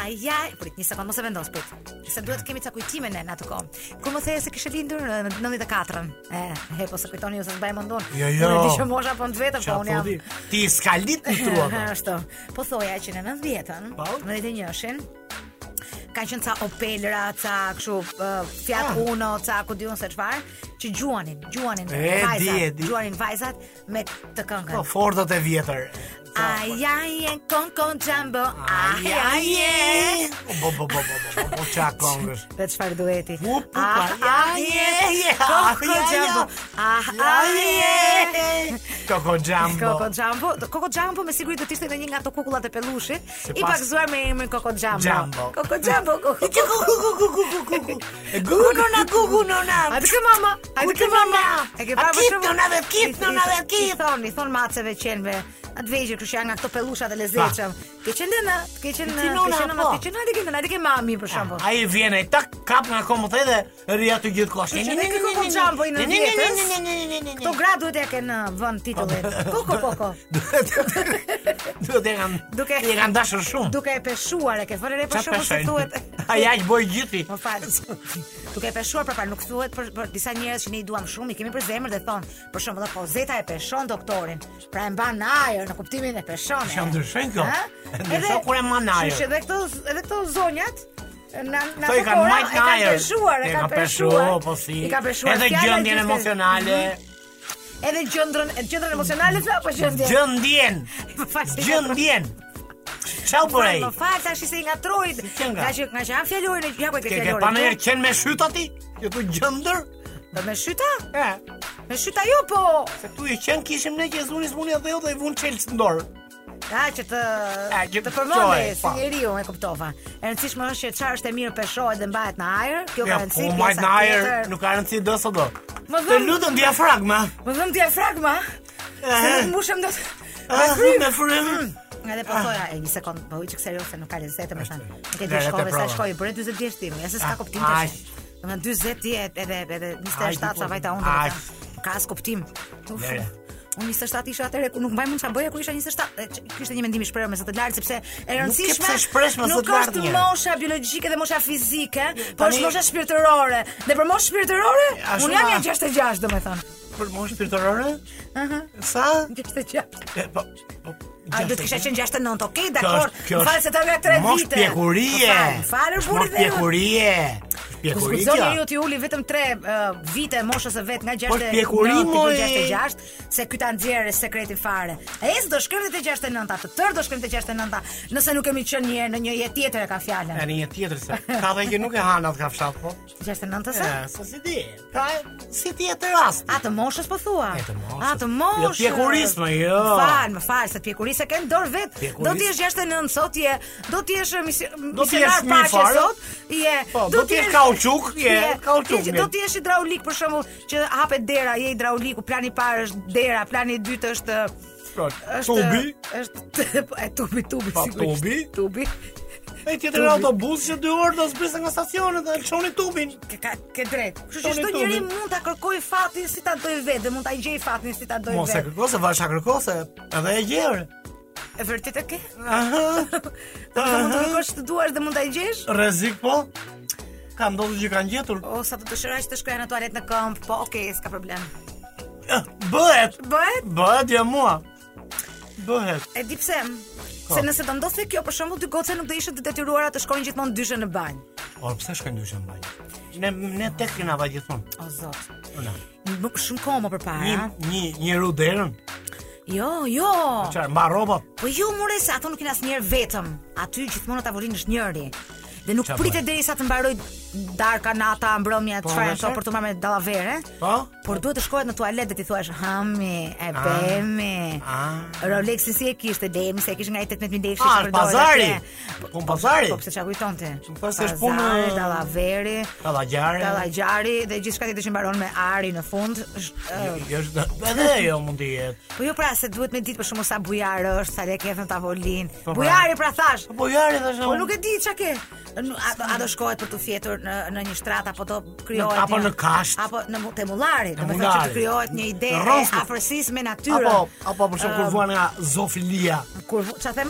Ai ja, prit një sekond mos e vendos prit. Se duhet të kemi ca kujtime ne në atë kohë. Kur më the se kishe lindur ë, në 94-ën. E, he, po se kujtoni ju se s'baj mendon.
Jo, jo.
Unë e di që mosha po në vetë, po unë jam.
Ti skalit në trua. po.
Ashtu. Po thoja që në 90-ën,
Po.
në 91-shin, ka qenë ca Opelra, ca kështu uh, Fiat
Ah.
Uno, ca ku diun se çfarë, që gjuanin, gjuanin
E, di, e
vajzat,
di.
gjuanin vajzat me të
Po
këngën.
fordat e vjetër.
Ai ai e kon kon jambo, ai ai e.
Bo bo bo bo bo bo, bo qa kongësh.
Dhe çfarë dueti?
Pu, pu,
Ah,
pa,
ai
ja,
e,
ja,
kon
ja,
kon
ja.
jambo, ah ai e.
Koko Jumbo.
Koko Jumbo, do- Koko Jumbo me siguri do të ishte në një nga ato kukullat e pelushit, i
pas-
pakzuar me emrin Koko Jumbo.
Jumbo.
Koko Jumbo, Koko
Kuku kuku kuku kuku kuku. Gugu nona gugu nona.
A të kë mama, a të kë mama
A kip nona dhe kip nona dhe kip.
I thon, i thon maceve qenve atë vegjë, kështu që janë nga këto pellusha të lezetshëm. Ke qenë në, ke qenë,
Ti
ke
nona,
qenë
po.
mas, ke qenë atë që atë ke mami për shembull.
Ah, Ai vjen ai tak kap nga kombët edhe ri aty gjithë kohë.
Që ne kërkon xhampo po i në vjetës. Këto gra duhet ja kenë në vend titullin. Po, po, po, po.
Duhet e kanë
Duke-
e kanë dashur shumë.
Duke e peshuar, e ke vënë re për
Çfarë
shembull se thuhet.
Ai aq boj gjithi.
Më fal. Duke e peshuar për nuk thuhet për, për disa njerëz që ne i duam shumë, i kemi për zemër dhe thon, për shembull, po Zeta e peshon doktorin, pra e mban në ajër në kuptimin e peshon.
Që
e.
ndryshojnë kjo.
Ha?
E ndryshon
Edhe-
kur e mban në ajër.
Kështu që edhe këto edhe këto zonjat Na na
Kto i kanë
fokora,
majt
e
në
kanë
ajër.
peshuar, e kanë peshuar.
po si.
I kanë peshuar
Edhe
fjalën,
gjendjen
gjithë-
emocionale,
Edhe gjendrën, gjendrën emocionale tha apo gjendjen?
gjendjen,
Më fal, se i Mhm. ka
gjendjen. Çau
Pra,
burej.
Më fal tash se i ngatrorit.
Si që nga?
Nga që nga që han fjalorin e ja ku e ke
Ke ke
fjalorin.
pa në herë qenë me shyt aty? Që tu gjendër?
Po me shyta?
E,
Me shyta jo po.
se tu i qenë kishim ne që e zunis muni atë dhe i vun çelës në dorë.
Ka që të
A, që të
të përmendë
qoj,
si
po.
njeriu e kuptova. E rëndësishme është që çfarë është e mirë peshohet dhe mbahet në ajër. Kjo ka
Ja,
rëndësi.
po
pjesa
majt në ajër,
tjetër.
nuk ka rëndësi do së do.
Më
Të
dhëm-
lutëm diafragma.
Më dhëm diafragma. Se nuk mbushëm dot.
Ah, me frym.
Edhe po thoja, e një sekond, po u çik serioze nuk ka lezetë më thënë. Nuk e di
Lere, te
shkove sa
prova.
shkoi, bëre 40 vjeç tim, ja se s'ka
Ah,
kuptim
aq.
tash. Domethënë 40 ti e- edhe edhe
Aq,
27 sa
po,
vajta unë.
aq.
domethënë, Ka as kuptim. Uf,
Lere.
Unë 27 isha atëherë, ku nuk mbaj mund ç'a bëja kur isha 27. E, që- Kishte një mendim i shprehur me sa të lartë sepse e rëndësishme
pse shpresh me sa
nuk
të lartë
është
njerë. Jo,
mosha biologjike dhe mosha fizike, por
tani-
është mosha shpirtërore. Dhe për moshë shpirtërore,
Ja,
unë
shumë
jam
a-
ja 66 domethënë.
Për moshë shpirtërore? Sa?
66.
E, Po, po.
A do të kisha qenë 69, okay,
Kjo
dakor.
është- kjo
Më falë
është
se ta vjen 3 vite.
Mosh pjekurie.
Më falë,
Është
burri
mosh
dhe unë.
pjekurie. Është Pjekurie.
Kushton
kjo.
njeriu ti uli vetëm 3 uh, vite moshës së vet nga 60
është pjekuri, moj.
66 se ky ta nxjerrë sekretin fare. E ecë do shkrim te 69-ta, të tërë do shkrim te 69-ta. Nëse nuk kemi qenë një herë në një jetë tjetër e ka fjalën.
E një tjetër se. Ka dhe që nuk e han atë kafshat po.
69-ta
E,
sa?
se si di. Pra, si ti e të rast.
A të moshës po thua?
E, të moshës.
A të moshës.
Jo, pjekurisë, më, jo.
Më Fal, më fal, se pjekurisë e kanë dorë vet.
Pjekurisë.
Do të jesh 69 sot je, do të jesh misi-
Do të jesh
misionar
mirë
paqe
fare.
sot, je.
Po, do të jesh kauçuk, je, kauçuk,
je-
mirë.
Do të jesh hidraulik për shembull, që hapet dera, je hidrauliku, plani i parë është dera, plani i dytë është
Pra,
është
tubi,
është po, e tubi tubi
Pa,
sigurisht.
tubi.
tubi
e tjetër
tubi.
autobus që 2 orë do zbresë nga stacioni dhe lëshoni tubin.
ke ka ke drejt. Kështu që
Toni
çdo njeri
tubi.
mund ta kërkoj fatin si ta doj vetë, dhe mund ta gjej fatin si ta doj
Mos e
vetë.
kërkose, vazhda kërkose, edhe e gjerë.
E vërtet e ke?
Aha.
Do të mund të kërkosh të duash dhe mund ta gjesh?
Rrezik po. Ka ndodhur që kanë gjetur.
O sa të dëshiroj që të shkoj në tualet në këmbë, po okay, s'ka problem.
Eh, Bëhet.
Bëhet?
Bëhet ja mua. Bëhet.
E di pse.
Po.
Se nëse do ndodhte kjo, për shembull, dy goca nuk do ishte të detyruara të shkojnë gjithmonë dyshe në banjë.
Por pse shkojnë dyshën banjë? Ne ne tek kena vaj gjithmonë.
O zot.
Ona.
Nuk shumë kohë më
Një
përpara.
një një ruderën.
Jo, jo.
Çfarë mba rrobat?
Po jo, more se ato nuk janë asnjëherë vetëm. Aty gjithmonë në tavolinë është njëri. Dhe nuk
Qa
pritet
bëhet?
derisa të mbaroj darka, nata, mbrëmja,
Po,
çfarë
me
ato
qartë.
për të marrë me dallavere.
Po?
Por duhet të shkohet në tualet dhe ti thuash Hami, e bemi
Ah.
Rolexi si e kishte Lemi se e kishte nga i 18000 lekë
Ah,
që
është
përdorë
pazari.
atje.
Po në pazari.
Po pse çka kujton ti?
Po, se është punë-
Pazari, dallaveri,
Kallagjare.
dallagjari dhe gjithçka tjetër që mbaron me ari në fund. Është ë,
Jo, është edhe jo mund të jetë.
Po jo pra se duhet me ditë për shkakun sa bujar është, sa lek në tavolinë.
Po, pra.
Bujari pra thash.
Po jari tash.
Po nuk e di çka ke. N- A, a do shkohet për të fjetur në në një shtrat apo do krijohet
Në- apo
një-
në kasht.
apo në mu- temullari, do të thotë që
mullari.
të krijohet një ide
Në
e
rroft.
afërsisë me natyrën.
Apo apo për shkak kur vuan nga zofilia.
kur vu- ç'a them?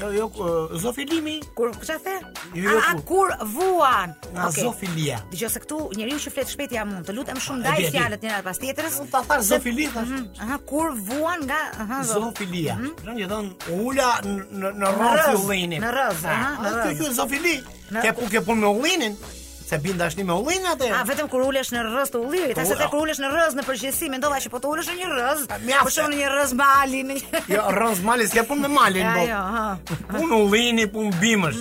Jo, jo, eh, zofilimi
Kur ç'a the?
Jo, jo,
A
kur.
kur vuan.
nga
Okej.
zofilia.
Dgjoj se këtu njeriu që flet shpejt ja mund. Të lutem shumë
E di, e
ndaj
di.
fjalët njëra pas tjetrës.
Unë ta thash zofili thash.
Mhm, Aha, kur vuan nga aha do-
Zofilia. Në që thonë ula në- në në rrëz
rrëz,
ullinit.
në rrëz, aha, në
Kjo
rrëz.
quhet zofili.
Në-
Ke punë ke punë me ullinin. Se bin dashni me ullinin atë.
A vetëm kur ulesh në rrëz të ullirit,
Po,
as edhe
a-
kur ulesh në rrëz në përgjithësi, mendova që po të ulesh në një rrëz,
mjaft.
po shon në një rrëz bali, në një
Jo, rrëz mali, s'ke punë me malin.
Ja, Mm,
po.
jo, ha.
Punë ullini, punë bimësh.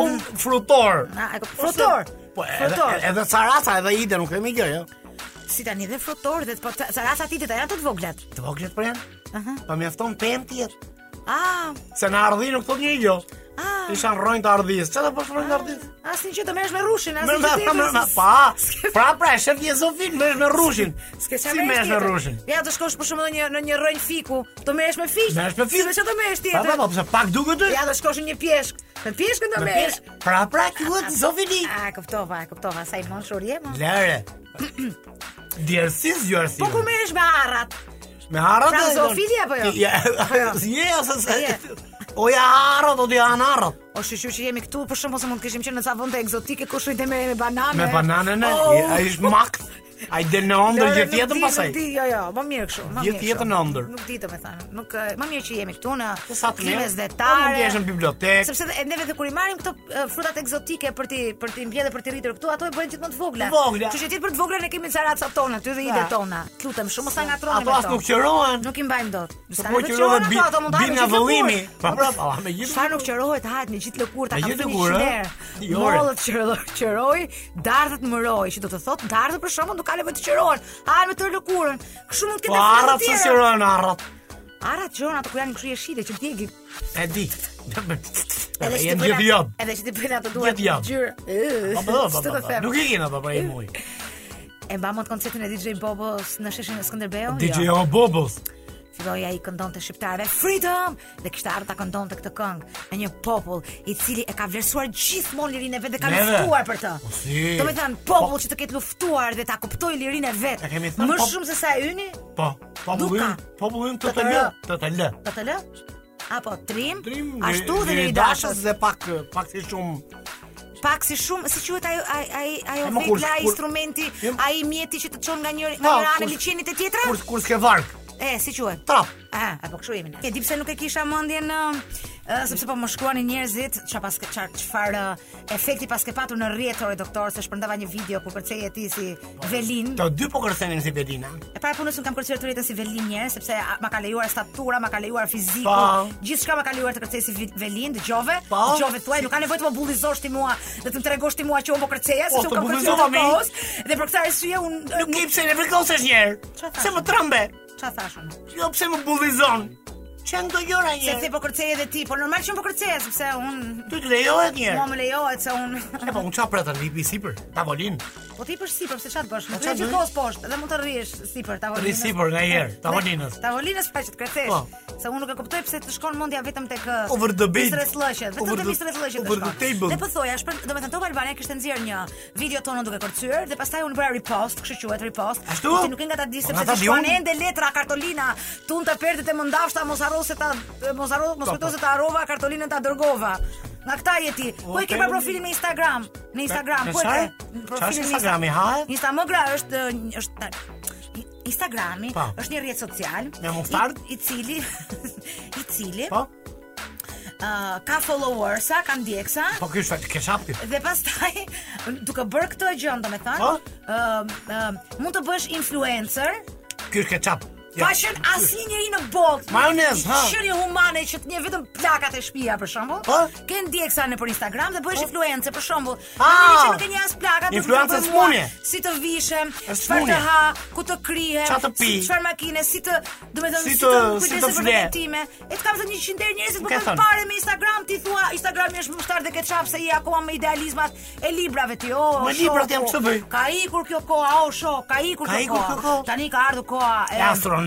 Punë frutor.
Na, e kuptoj. Frutor.
Po, edhe,
Frutor.
edhe caraca, edhe ide, nuk kemi gjë, jo.
Si tani dhe frutor dhe po ca ca rasa ti të janë të të voglat.
Të voglet për janë?
Aha.
Po mjafton 5 tjetër.
Ah,
Se në ardhi nuk thot një gjë.
ah.
Isha rrojnë të ardhis. Çfarë do bësh rrojnë të ardhis?
Asin që të merresh me rushin,
Më
asin
më
që
më
të
më pa. Pra pra e shef Jezofin, më me rushin.
S'ke
Si më me rushin?
Ja të shkosh për shembull në një në një rrënjë fiku, të merresh me fiq.
Merresh me fiq.
Si me çfarë të merresh
Pa pa
tjetër?
pa, pse pak duket ty?
Ja të shkosh në një pjeshk. Me pjeshkën do
Me
merresh.
pjesë. Pra pra quhet Zofini.
A kuptova, e kuptova sa i monshur je mo.
Lere. Djersis, djersis.
Po ku merresh me arrat?
Me harrat
Pra,
e-
zoofili apo jo?
Ja, je ose se.
Je.
O ja harrat, o ti janë harrat.
O shqyqy që jemi këtu, për shembull se mund të kishim qenë në ca vende egzotike ku shujtë me me banane.
Me bananën,
Oh,
e- ai është makt. Ai del në ëndër
Lore,
gjithë
nuk
jetën
di,
pasaj.
Nuk di, jo, jo, më mirë kështu, më mirë.
Gjithë
kështu.
jetën në ëndër.
Nuk di domethënë. Nuk ë, më mirë që jemi këtu në
Po sa të mirë. Po
klimës
mund
detare.
t'jesh në bibliotekë.
Sepse dhe- neve dhe kur i marrim këto ë, frutat egzotike për ti për ti mbledhë për ti rritur këtu, ato e bëjnë gjithmonë të vogla.
Të vogla. Pra.
Kështu që ti për të vogla ne kemi caracat tona, ty dhe idet tona. Lutem shumë mos ta ngatroni
Ato
me
as
to.
nuk qërohen.
Nuk i mbajmë dot. S'ka
po
nevojë
qërohen dhe
qërohen ato,
bin-
ato mund të
bin
hapin
nga
gjithë
vëllimi.
lëkurë.
Pa, pra, pa, me gjithë
Çfarë nuk qërohet, hahet me gjithë lëkurë, ta
Me
ka
gjithë
thënë
lëkurë,
një
ë?
der.
Jore.
Mollët qëroj, qëroj, dardhët më roj, që do të thotë dardhët për shkakun nuk ka nevojë të qërohen. Hahen me të lëkurën. Kështu mund të
Po
ketë
harrat se qërohen harrat.
Arrat qëron ato ku janë kështu jeshile që djegin.
E di.
Edhe
Jenë
që ti
gjithë
bëjnë
jam.
atë- Edhe që ti bëjnë ato duhet
Gjithë jam.
gjyrë. Ëh,
Po, po, po,
s'të
po,
të them.
Nuk i kena po pra i muj.
E mba mot koncertin e DJ Bobos në sheshin e Skënderbeu?
DJ
Jo.
O Bobos.
Filloi ai këndonte shqiptarëve Freedom dhe kishte ardhur ta këndonte këtë këngë në një popull i cili e ka vlerësuar gjithmonë lirinë e vet dhe ka
Neve.
luftuar për të.
Po si. Po.
Do me thënë, popull që të ketë luftuar dhe ta kuptoj lirinë e vet.
E kemi thënë,
Më
pop-
shumë se sa e yni,
Po, po
Duka.
bullim, po bullim të të
Të të
lë,
lë.
të të lë.
do të lë? Apo trim,
Trim,
ashtu dhe
i
liri
dashës
dashës, Po,
dhe pak pak si shumë.
pak si shumë, si quhet ajo ai ai ajo
E, ma, kur-
vekla, ai
kur-
instrumenti,
Jem-
ai mjeti që të çon nga një nga
Po,
një anë
kur-
liçenit e tjetra?
Kur kur s'ke varg.
E, si quhet?
Trap.
Ah, apo kështu jemi ne. E di pse nuk e kisha mendjen ë, ë, sepse po më shkruanin njerëzit çfarë pas çfarë çfarë ë, efekti pas ke patur në rrjet ore doktor se shpërndava një video ku kërceje ti si Velin.
Të dy po kërcenin si Bedina.
E para punës unë kam kërcyer të rrjetën si Velin njerë sepse a, ma ka lejuar statura, ma ka lejuar fiziku,
Pa.
gjithçka ma ka lejuar të kërcej si Vi- Velin, dëgjove,
Pa.
dëgjove tuaj, nuk ka nevojë të më bullizosh ti mua dhe të më tregosh ti mua që unë po kërceja,
Po,
sepse
të
unë kam kërcyer
bullizova
të
mi.
kohës dhe për këtë arsye unë
Nuk i pse ne vërkosesh një herë.
Çfarë thash?
Se më trembe.
çfarë thash unë?
Jo pse më bullizon. Çan do gjëra një.
Sepse po kërcej edhe ti, po normal që unë po kërceja sepse unë
Ty të lejohet një
Mua
herë.
më lejohet se unë
E po unë qa pretën vipi sipër, tavolin
Po ti për sipër, pse çfarë të bësh? Nuk
çfarë
të që
bëj?
kohës poshtë dhe mund të rrihesh sipër tavolinës.
Rri sipër nga herë, tavolinës.
Dhe- Tavolinës pa që të krethesh.
Po.
Se unë nuk e kuptoj pse të shkon mendja vetëm tek ë,
Over the bed.
Mistress Lëqe, vetëm
Over
tek
the-
Mistress Lëqe. të
over the
shkon.
table.
Dhe po thoja, është për, domethënë Top Albania kishte nxjerr një video tonë duke kërcyer dhe pastaj unë bëra repost, kështu quhet repost.
Ashtu?
Po Ti nuk e nga ta di
Po,
sepse
nga ta
ti
di
shkon
unë.
ende letra kartolina, tun të perdet e mëndafshta mos harro se ta mos harro mos
Po, po.
kujto se ta harrova kartolinën ta dërgova. Nga këta je ti. Po e ke pa
pe-
profilin në Instagram, në Instagram,
Në
po e
Pra, çfarë?
ke.
Çfarë
Profilin
është
në
Instagrami, hahet?
Instagram është është Instagrami
Pa.
është një rrjet social
Po. Me mustard?
i, i cili i cili
Po?
ë, ka followersa, ka ndjeksa
Po kjo është ke shapi.
dhe pastaj duke bërë këtë gjë, domethënë,
Po?
ë ë, uh, mund të bësh influencer
Ky është ketchup.
Pa qenë asnjë njeri në botë.
Majonez, ha.
Qëri humane që të një vetëm plakat e shtëpia për shembull.
Po?
Ke ndjeksa në për Instagram dhe bëhesh influencer për shembull.
Ah.
Njëri që nuk e njeh as plakat, nuk
Influencer
ka bërë mua
smunje.
Si të vishem,
Është
çfarë të
smunje.
ha, ku të krihem,
Çfarë të pi.
si çfarë makine, si të, domethënë
Si
si,
të- si
kujdesesh
të
për
fle.
veten time. E të kam thënë 100 herë njerëzit po
Nuk e
kanë
thënë.
parë me Instagram, ti thua Instagrami është mështar dhe ketchup se je akoma me idealizmat e librave ti. O,
Me librat
shoku,
jam kështu bëj.
Ka ikur kjo koha, o shok, ka ikur
Ka
kjo
ikur kjo
koha.
koha.
Tani ka ardhur koha
E astronautëve. Po,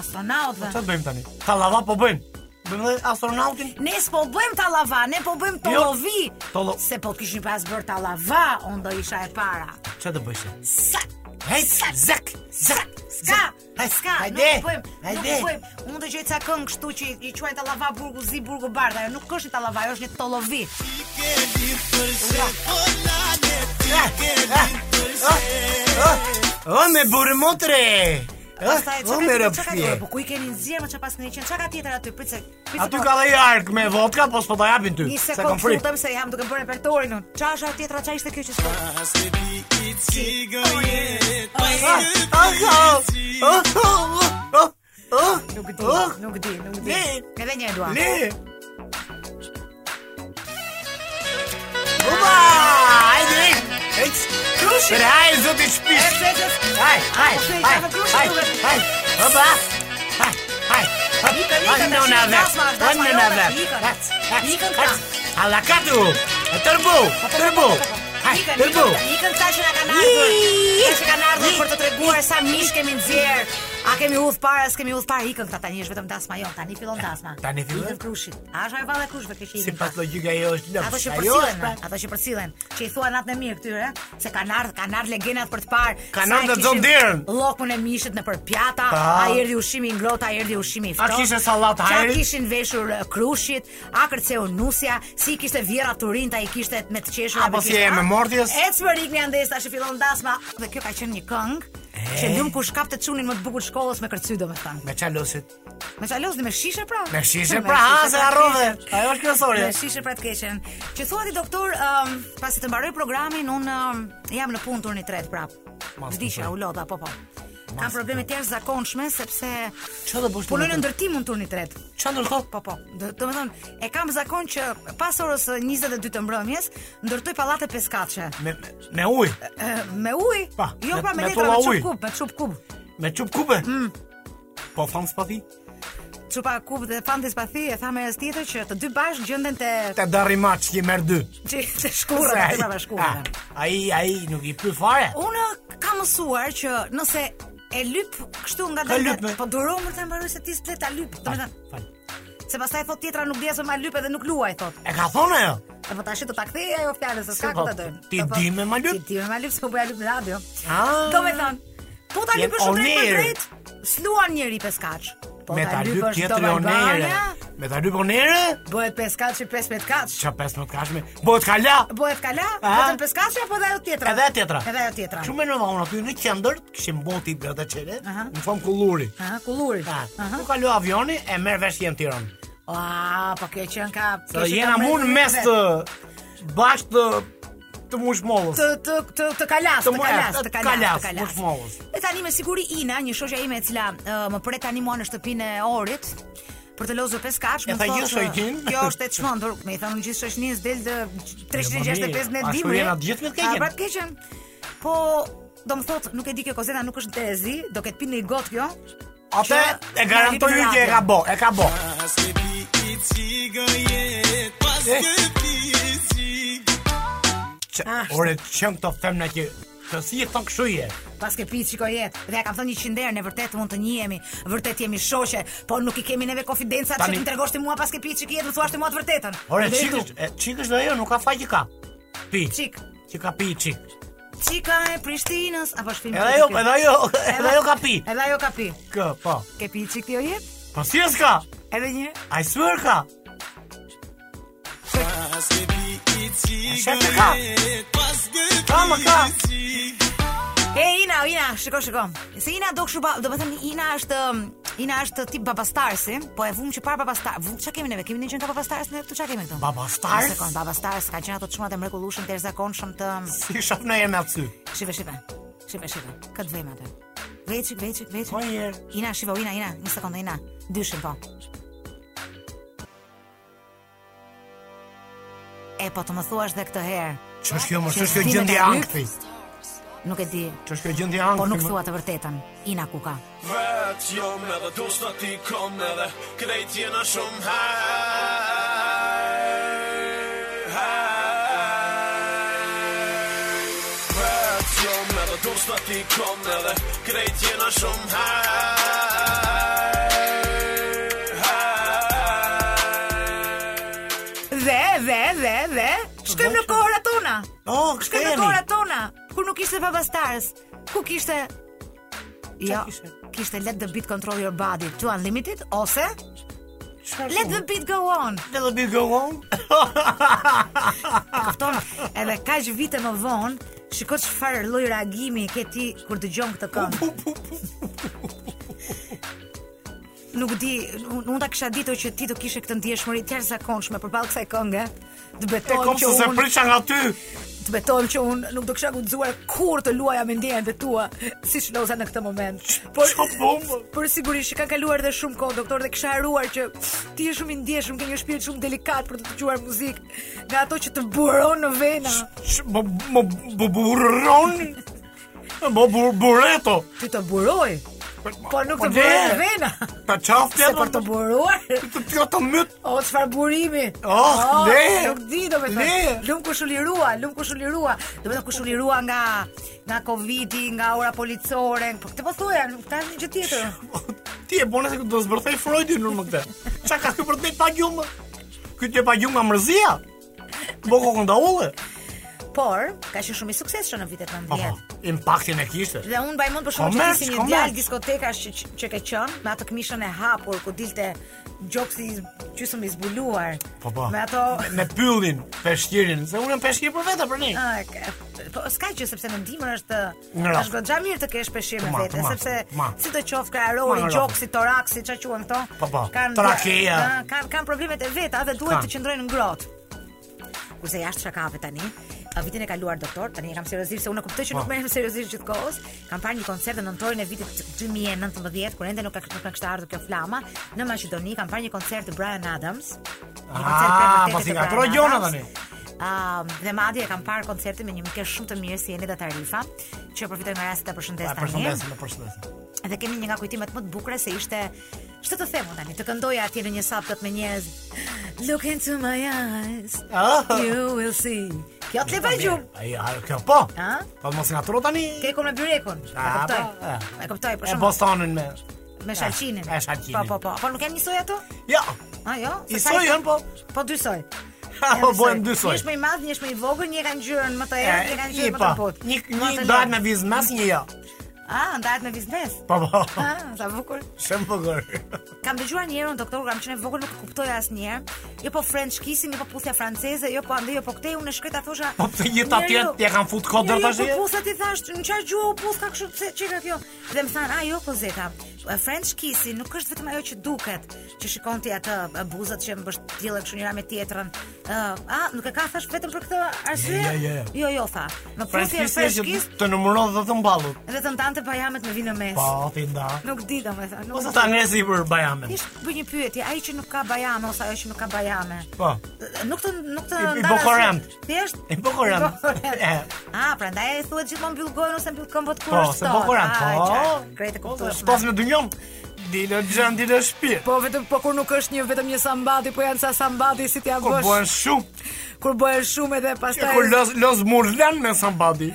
Astronautëve.
Çfarë bëjmë tani? Tallava po bëjmë. Bëjmë dhe astronautin.
Ne s'po bëjmë tallava, ne po bëjmë tollovi.
Jo, tollo-
Se po kishin pas bërë tallava, unë do isha e para.
Çfarë do bësh?
Sa
Hej,
Sa-
zak, zak,
Ska,
Hej,
ska, nuk
hajde,
u bëjmë, nuk
hajde.
u bëjmë. Unë dëgjoj ca këngë kështu që i- i quajnë tallava burgu zi burgu bardha, ajo nuk është tallava, ajo është një tollovi.
O me burë motre.
Pastaj
Eh, O
çka
me
ka- çka ka
rëpje.
Po ku i keni nxjerrë më çka pas kanë qenë? Çka ka tjetër aty? Prit se prit se
Aty
po-
ka dhe jark me vodka, po s'po ta japin ty.
Një
Se
sekond
kam frikë.
futem se jam duke bërë repertorin unë. Qa është ajo tjetra, qa ishte kjo që s'po?
Ah, ah, ah, ah, ah, ah, ah.
Nuk di,
Ah,
nuk di, nuk di.
Le.
Edhe një e dua.
Le. Uba, hajde. Ec. Për hajde, zoti
E,
shpish.
se- se-
Haj, haj,
Okej,
haj,
ka vërdrush,
haj,
duhet.
haj, haj, haj, haj,
ikën,
Andiamo una
tash, dasma,
vecchia,
dasma,
andiamo una
lona,
vecchia.
ikën.
Haz, haz,
Ikën
haz. Alla katu, e tërbu, tërbu, haj,
Ikën,
tërbu.
ikën, Ikën këta që na kanë ardhur.
Jiii.
Këta që kanë ardhur
Jiii.
për të treguar sa mish kemi nxjerr. A kemi udh para, s'kemi udh para, ikën këta tani është vetëm dasma jon, tani fillon dasma.
Tani fillon?
Ikën krushit. A është ajo valla e krushve kishë
Si
ikën.
pas
këta.
logika jo është lëpsh.
Ato që
ajo
përcillen,
është pra-
ato që përcillen, që i thuan natën e mirë këtyre, se kanë ardhur, kanë ardhur legjendat për të parë.
Kanë
sa e
ardhur të
kishin
zondirën.
Llokun e mishit nëpër pjata,
Pa.
ai erdhi ushqimi i ngrohtë, ai erdhi ushqimi i
A
ftohtë.
kishte sallat
Qa
hajrit?
kishin veshur eh, krushit, a kërceu nusja, si kishte vjera turinta, ai kishte me të qeshur.
Apo si e me mordjes?
Ecmërik një andes tash e fillon dasma dhe kjo ka qenë një këngë. Që ndum ku shkap të çunin më të bukur të shkollës me kërcy domethënë.
Me qalosit.
Me çalozni me shishe pra.
Me shishe
Me
pra, ha, se
pra,
harrove.
keqen.
Ajo është kryesorja.
Me shishe pra të keqen. Që thua ti doktor, um, pasi të mbaroj programin, un um, jam në punë turni tret prap.
Mas
Vdiqja
kuptoj.
u lodha, po po. Kam probleme të jashtëzakonshme sepse
Çfarë do po bësh turni
Punoj në
tret?
ndërtimun turni tret.
Çfarë ndërkohë?
Po po. Do të them, e kam zakon që pas orës eh, 22 të mbrëmjes ndërtoj pallate peskatëshe.
Me, me, me ujë,
Eh, Me ujë?
Pa,
jo
me-
pra me,
me
letra,
pulla
me çup
uji.
kub, me çup kub.
me qup kupe.
Hmm.
Po thamë s'pati.
Çupa kub dhe fantis pathi e tha merës tjetër që të dy bashkë gjenden te
Te darri maç që i merr dy.
që të shkurrën
Se
aty
ai-
pra bashkuara.
a- Ai ai nuk i pyet fare.
Unë kam mësuar që nëse e lyp kështu nga
Ka lyp, me.
po duro më të mbaroj se ti s'ple ta lyp. Domethënë,
Fal. Ah.
se pastaj thot tjetra nuk dia se ma lyp edhe nuk luaj thot.
E ka thonë ajo.
E po tash do ta kthej ajo fjalën se s'ka
Se po,
këtë dojmë.
ti
Do thot,
di me ma lyp?
Ti di me ma lyp se po bëja lyp në radio.
Ah.
Do me thënë, po ta
Jem
lypësh shumë drejt për
oner.
drejt, s'luan njëri peskaç. Po
me ta lyp
lypësh
tjetri
domaj
onere.
banja,
Me ta lyp onere?
Bëhet peskaç i 15 kaç.
Qa 15 kashme. Bëhet kala.
Bëhet kala,
Aha.
vetëm peskaç apo edhe ajo tjetra?
Edhe e tjetra.
Edhe ajo tjetra.
Shumë e nërma unë aty në qendër, kishim boti gata çere,
Aha.
në fam kulluri.
Ha, kulluri.
Ah,
Aha.
ku kaloi avioni e merr vesh jam Tiranë.
Ah, po kjo qen ka. kjo
Sa
qen
jena
ka
mu në
brenda
mes të bashkë të të mushmollës.
të të të të kalas,
Të
të
mu-
kalas,
e,
të
të
kalas,
kalas,
të
mos mohos.
kalas. Dhe tani me siguri Ina, një shoqja ime e cila ë, më pret tani mua në shtëpinë e Orit për të lozur peskaç,
E
më
tha,
thotë.
"Ju shoqin?"
Kjo është e çmendur, me i thonë gjithë shoqënisë del të 365
mirë,
në
ashtu
dimri.
jena të gjithë me të keqen.
A, pra të keqen. Po, do më thotë, nuk e di kjo Kozeta nuk është në Terezi, do ketë pinë një gotë kjo.
Atë
që
e garantoj
na
ju
hypin
që e
radio.
ka bo, e ka bo.
Parce que ti cigaret, parce
Eh.
que ti cig-
Që-
Ashtu.
Ore, qënë këto femna që të si e thonë këshu je.
Pas ke pitë shikoj jetë Dhe ja kam thënë një qinder Në vërtet mund të njihemi Vërtet jemi shoshe Po nuk i kemi neve konfidenca
Tani-
Që të më tregosh ti mua Pas ke pitë shikoj jetë Më thuash ti mua të vërtetën
Ore,
Deri këtu.
qikësh, e, qikësh dhe jo, nuk ka faj që ka. Pi,
Çik
që ka pi qik.
Çika e Prishtinës Apo shpim
Edhe jo, edhe jo, edhe jo ka pi.
Edhe ajo ka pi
Kë, po.
Ke pi çik ti o jetë
Po si e s'ka?
Edhe një
A i swer ka?
parce que ti
Shef e ka.
cigaret, parce que
Ka, më
ti
ka.
cig-
E Ina, o, Ina, shiko, shiko Se Ina do këshu ba Do më thënë Ina është um, Ina është tip babastarsi Po e vum që par babastar Vum që kemi neve Kemi një qënë ka babastars Ne këtu që kemi këtu
Babastars?
Një sekond, babastars Ka qenë ato të shumat e mrekullushëm Të erzakonshëm të um,
Si shof në jenë aty.
Shive, shive. Shive, shive. Këtë vejmë atë. Veçik, veçik, veçik.
Po njerë.
Ina, shive, ina, ina. Një sekundë, ina. Dyshim, po. E, po të më thuash dhe këtë herë.
Që është kjo, më që është kjo
Shestimet
gjëndi
e lyp.
angthi.
Nuk e di,
Që është kjo gjëndi
po
angthi.
nuk
më-
thua të vërtetën. Ina ku ka.
Vet jam edhe dosta ti kom edhe Krejt jena shumë hej Hej Vet jam edhe dosta ti kom edhe Krejt jena shumë hej Hej
Dhe, dhe, dhe, dhe. Shkojmë në kohërat tona.
Oh,
Shkojmë në
kështeni.
kohërat tona. Kur nuk ishte babastarës. Ku kishte... Jo,
kishte?
kishte let the beat control your body to unlimited ose
Çfarë
let the
shumë?
beat go on.
Let the beat go on.
Kupton? Edhe kaq vite më vonë, shiko çfarë lloj reagimi ke ti kur dëgjon këtë këngë. Nuk di, unë unë ta kisha ditur që ti do kishe këtë ndjeshmëri të jashtëzakonshme përballë kësaj kënge. Të
E
betohem
kom
që
se se
unë,
prisha nga ty.
të betohem që unë nuk do kisha guxuar kur të luaja me ndjenjat e tua, siç loza në këtë moment. Por
Ço bombë.
Por sigurisht që ka kaluar dhe shumë kohë doktor dhe kisha haruar që ti je shumë i ndjeshëm, ke një shpirt shumë delikat për të dëgjuar muzikë, nga ato që të buron në vena.
Sh- Më më- më burron. Më bur- bureto.
Ty të buroj. Po nuk të
le,
bëhet vena.
Ta qaftë
Se për të buruar.
Të kjo të myt.
O çfarë burimi?
Oh, le.
Nuk di domethënë.
Le.
Lum kush u lirua, lum kush u lirua. Domethënë kush u lirua nga nga Covidi, nga ora policore. Po këtë po thoja, nuk ka asnjë gjë tjetër.
Ti e bona se do zbërthej Freudin në më këtë. Qa ka kjo për të nejtë pa gjumë? Ky të pa gjumë nga mërzia? Bo kokën da ullë? Po,
Por ka qenë shumë i suksesshëm në vitet 90.
Impaktin e kishte.
Dhe unë mbaj mend për shkak të
Komerc,
kishin një
komerc.
djalë diskotekash që, që, që ka qenë me atë këmishën e hapur ku dilte gjoksi i z- gjysmë i zbuluar.
Po po.
Me ato
Me pyllin, peshqirin, se unë jam peshqir për vete për ne.
Ah, ke- Po s'ka gjë sepse në ndimër është
Në rast.
është goxha mirë të kesh peshqir me
Ma,
vete,
ma,
sepse
ma.
si të qoftë
Ma,
krarori,
ma,
gjoksi, toraksi, çka quhen këto?
Po, po,
kanë-
trakea.
Ah, Kanë kanë problemet e veta dhe duhet
Kanë.
të qëndrojnë ngrohtë. Kurse jashtë shakave tani, a vitin e kaluar doktor, tani e kam seriozisht se unë e kuptoj që nuk
Po.
merrem seriozisht gjithkohës. Kam parë një koncert në nëntorin e vitit 2019, kur ende nuk ka nuk ka kishte ardhur kjo flama, në Maqedoni kam parë një koncert të Bryan Adams. Një koncert
Ah,
premtete
pasi
të
ka
Bryan
troj gjona
Adams.
tani.
Um, dhe madje e kam parë koncertin me një mëngjes shumë të mirë si Eneda Tarifa, që përfitoj nga rasti ta përshëndes
Pa
tani.
përshëndesim, pa përshëndesim.
Dhe kemi një nga kujtimet më të bukura se ishte ç'të të them unë tani, të këndoja atje në një sap plot me njerëz. Look into my eyes.
Ah.
You will see. Kjo të leva gjum.
Ai, ai, kjo po.
Ha?
Po mos nga tro tani.
Kekun me byrekun. E
Ah,
kuptoj.
po, eh.
E kuptoj për
E
shkak
bostonin me.
me shalqinin.
eh, shalqinin.
Po po po. Po nuk janë njësoj ato?
Ja,
A jo? Se
i
sa
soj janë po.
Po dy soj.
Ha,
Janë
po
dy
bojnë
soj.
dy soj.
Një është më i madh, një është më i vogël, një ka ngjyrën më të
E,
errët, një ka
i
ngjyrën më
po.
të butë.
Një
Më
një
të
datë
lartë.
me vizmas, një jo.
Ah, ndahet me biznes.
Po po.
Ah, sa bukur.
Shumë bukur.
Kam dëgjuar një herë un doktor, kam qenë e vogël nuk e kuptoja asnjëherë. Jo po French kissing, jo po puthja franceze, jo po ande, jo po këtej, unë e shkreta thosha.
Po pse gjithë atje
"Njeriu-
t'ja kanë fut kodër
njeriu
tash?"
Po pusat i thash, në çfarë gjuhë u pus ka kështu pse çka kjo? Dhe më than, "A jo, po zeta. French kissing nuk është vetëm ajo që duket, që shikon ti atë e, buzët që mbësht tjellën kështu njëra me tjetrën. Ë, a nuk e ka thash vetëm për këtë arsye?
Jo, jo, jo.
Jo, jo, tha. Në puthje
Francis
French
që
kiss
të numëron dhe të mballut.
dhe të ndante bajamet me vinë në mes.
Po, ti nda.
Nuk di domethënë, nuk
Ose ta ngresi për bajamen.
Thjesht bëj një pyetje, ai që nuk ka bajame ose ajo që nuk ka bajame.
Po.
Nuk të nuk të
I- i
ndalas-
bokorant.
Thjesht
I bokorant.
i bokorant.
E.
Ah, prandaj e thuhet gjithmonë mbyll gojën ose mbyll këmbët kur
Po,
është.
se
sot.
bukuran,
Ah,
po.
qartë, Krejt e kuptuar.
Shpas në dynjon. Dilë xhan dilë shtëpi.
Po vetëm po kur nuk është një vetëm një sambati, po janë sa sambati si t'ia
Kur bën Po, shumë.
kur bëhen shumë edhe
E kur los los murlan me sambadi.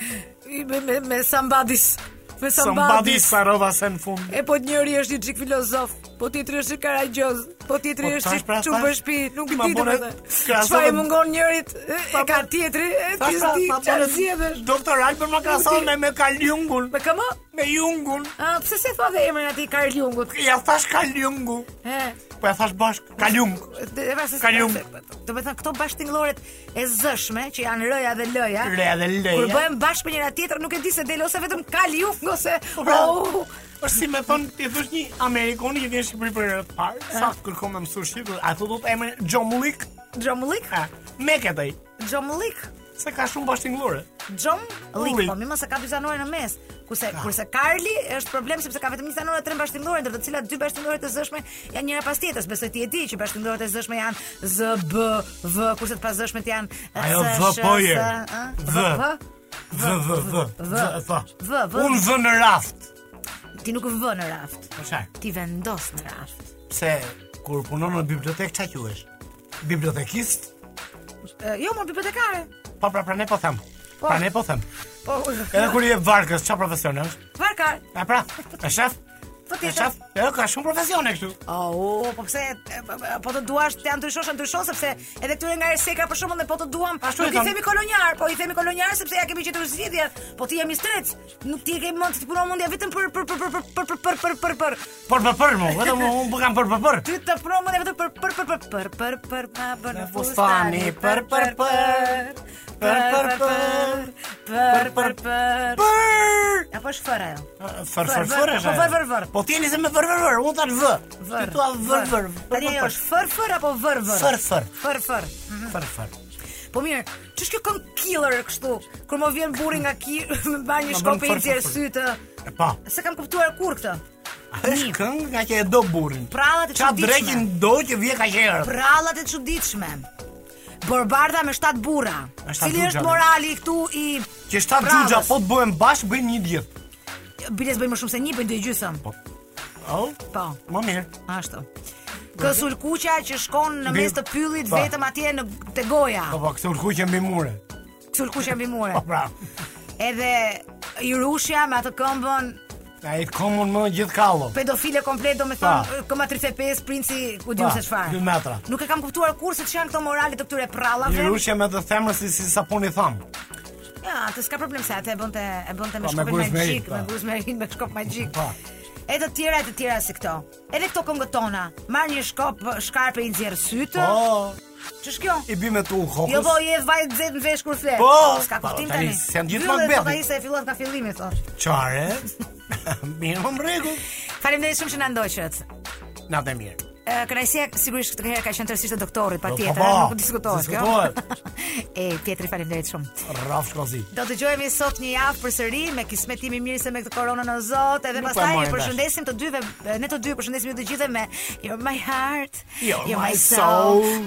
me, me, me sambatis. Me
Sambadi sarova se në fund.
E po njëri është një çik filozof, po tjetri është i karagjoz, po tjetri
Po,
është
thash pra,
i çum
thash.
për shtëpi, nuk
Ma
di
bune
domethënë.
krahasove-
Çfarë i mungon njërit e e ka tjetri, e ti s'di çfarë zgjedhësh.
Doktor Albert ma ka thonë me me kaljungun,
Me këmë?
me jungun.
A, pse se thua dhe emrin atij Karlungut?
Ja thash kaljungu.
He.
Po ja thash bashk, kaljung.
dhe- e pra se-
Kaljung.
Do të thënë këto bashkëtingëlloret e zëshme që janë rëja dhe lëja.
Re dhe
Kur
leja.
bëhen bashkë me njëra tjetër nuk e di se del ose vetëm Kaljung ose
pra.
au.
Është si me thonë, ti thosh një Amerikani që vjen në Shqipëri për herë të parë, sa kërkon me mësu shqip, a thu do të emrin Gjomullik?
Xhomullik,
Ha, me këtë ai,
Xhomullik.
se ka shumë bashkëtingëllore.
Xhom Lik,
Lik.
po më mos e ka dy zanore në mes. Kurse kurse Karli është problem sepse ka vetëm një zanore tre bashkëndore, ndër të cilat dy bashkëndore të zëshme janë njëra pas tjetrës. Besoj ti e di që bashkëndorët e zëshme janë Z B V, kurse të pazëshmet janë
Ajo
S,
V
Sh,
po
S,
je.
ë?
V.
V.
Vë, vë, vë,
vë,
vë,
vë, vë.
Unë vë në raft.
Ti nuk vë në raft.
Po çaj,
Ti vendos në raft.
pse kur punon në bibliotekë çka quhesh? Bibliotekist?
Ë, Jo, më bibliotekare.
Po pra, pra ne po them.
Po.
Pra ne po them.
Po.
Edhe kur i jep varkës, çfarë profesioni është?
Varkar.
E pra, e shef?
Po
E
tjetër.
shef? E ka shumë profesione këtu.
Oh, po pse e, po- po të duash të ndryshosh e ndryshon sepse edhe këtyre nga Erseka për shembull ne po të duam.
Ashtu
nuk
e
i
kanë.
themi kolonjar, po i themi kolonjar sepse ja kemi gjetur zgjidhjen. Po ti je mistrec, nuk ti e ke mund të punon mundja vetëm për për për për për për për për për për për
Për për për mu, vetëm unë po kam për për për.
ty të punon mundja vetëm për për për për për për për ma bën
Në
fustani për për për për për për për për për
Për!
Apo shfëra jo.
Fër, fër, fër,
Po, vër, vër, vër.
Po t'jeni se me vër, vër, vër, unë t'ash vë.
Vër.
Ti thua vër, vër, vër,
Tani
vër,
është fër fër apo vër vër?
Fër, fër.
Fër fër.
vër, fër, fër.
Po mirë, ç'është kjo këngë killer kështu? Kur më vjen burri nga ki, më bën një
Ma bën
shkopë i
fër,
nxjerr
fër, fër.
sytë.
E po. pa,
Se kam kuptuar kur këtë.
është këngë nga që e do burin.
Prallat e
Qa
çuditshme.
drekin do që vje ka qërë.
Prallat e çuditshme. Borbarda me 7 burra.
Me shtat
Cili
burra,
është
me.
morali këtu i
Që shtatë
prallës?
gjugja po të bëhen bashkë, bëjnë një djetë.
Biles bëjnë më shumë se një, bëjnë dy gjysmë.
Po, Oh,
Po.
më mirë.
Ashtu. Kë sulkuqa që shkon në mes të pyllit
Po.
vetëm atje në te goja.
Po po, këtu ulkuqe mbi mure.
Sulkuqa mbi mure.
Po pra.
Edhe Irushja me atë këmbën
Ai komun më gjithë kallo.
pedofile komplet, do me
Pa.
thonë, këma 35, princi, ku diun
Pa,
se çfarë.
dy metra.
Nuk e kam kuptuar kur se ç'janë këto morale të këtyre prallave.
Një rushje me të themrës si, si sapun i thamë.
Ja, atë s'ka problem se atë e bënte e bënte me
Po, me
shkopin
guzmerin,
magjik,
po.
me guzmerin, me shkop magjik.
Po.
E të tjera, e të tjera si këto. Edhe këto këngët tona, marr një shkop shkarpe i nxjerr sytë.
Po,
Ç'është kjo?
i bi me tu kokës.
Jo po, je vaj zet në vesh kur flet.
Po,
s'ka
po,
kuptim
tani
tani.
se janë gjithmonë
Mbyllën,
beti.
thotë ai se e fillon nga fillimi thotë.
Çare? mirë, më mrekull.
Faleminderit shumë që na ndoqët.
Natë e mirë.
Ë, Kënaqësia sigurisht këtë herë ka qenë tërësisht e doktorit,
Po,
patjetër,
po,
nuk diskutohet kjo. e Pietri, faleminderit shumë.
Rraf shkozi.
Do të gjojemi sot një javë përsëri me kismet tim i mirë se me këtë koronën o Zot, edhe
Nuk po e
pastaj
marrim
ju përshëndesim të dyve, ne të dy përshëndesim ju të gjithëve me You're my heart,
You're my soul.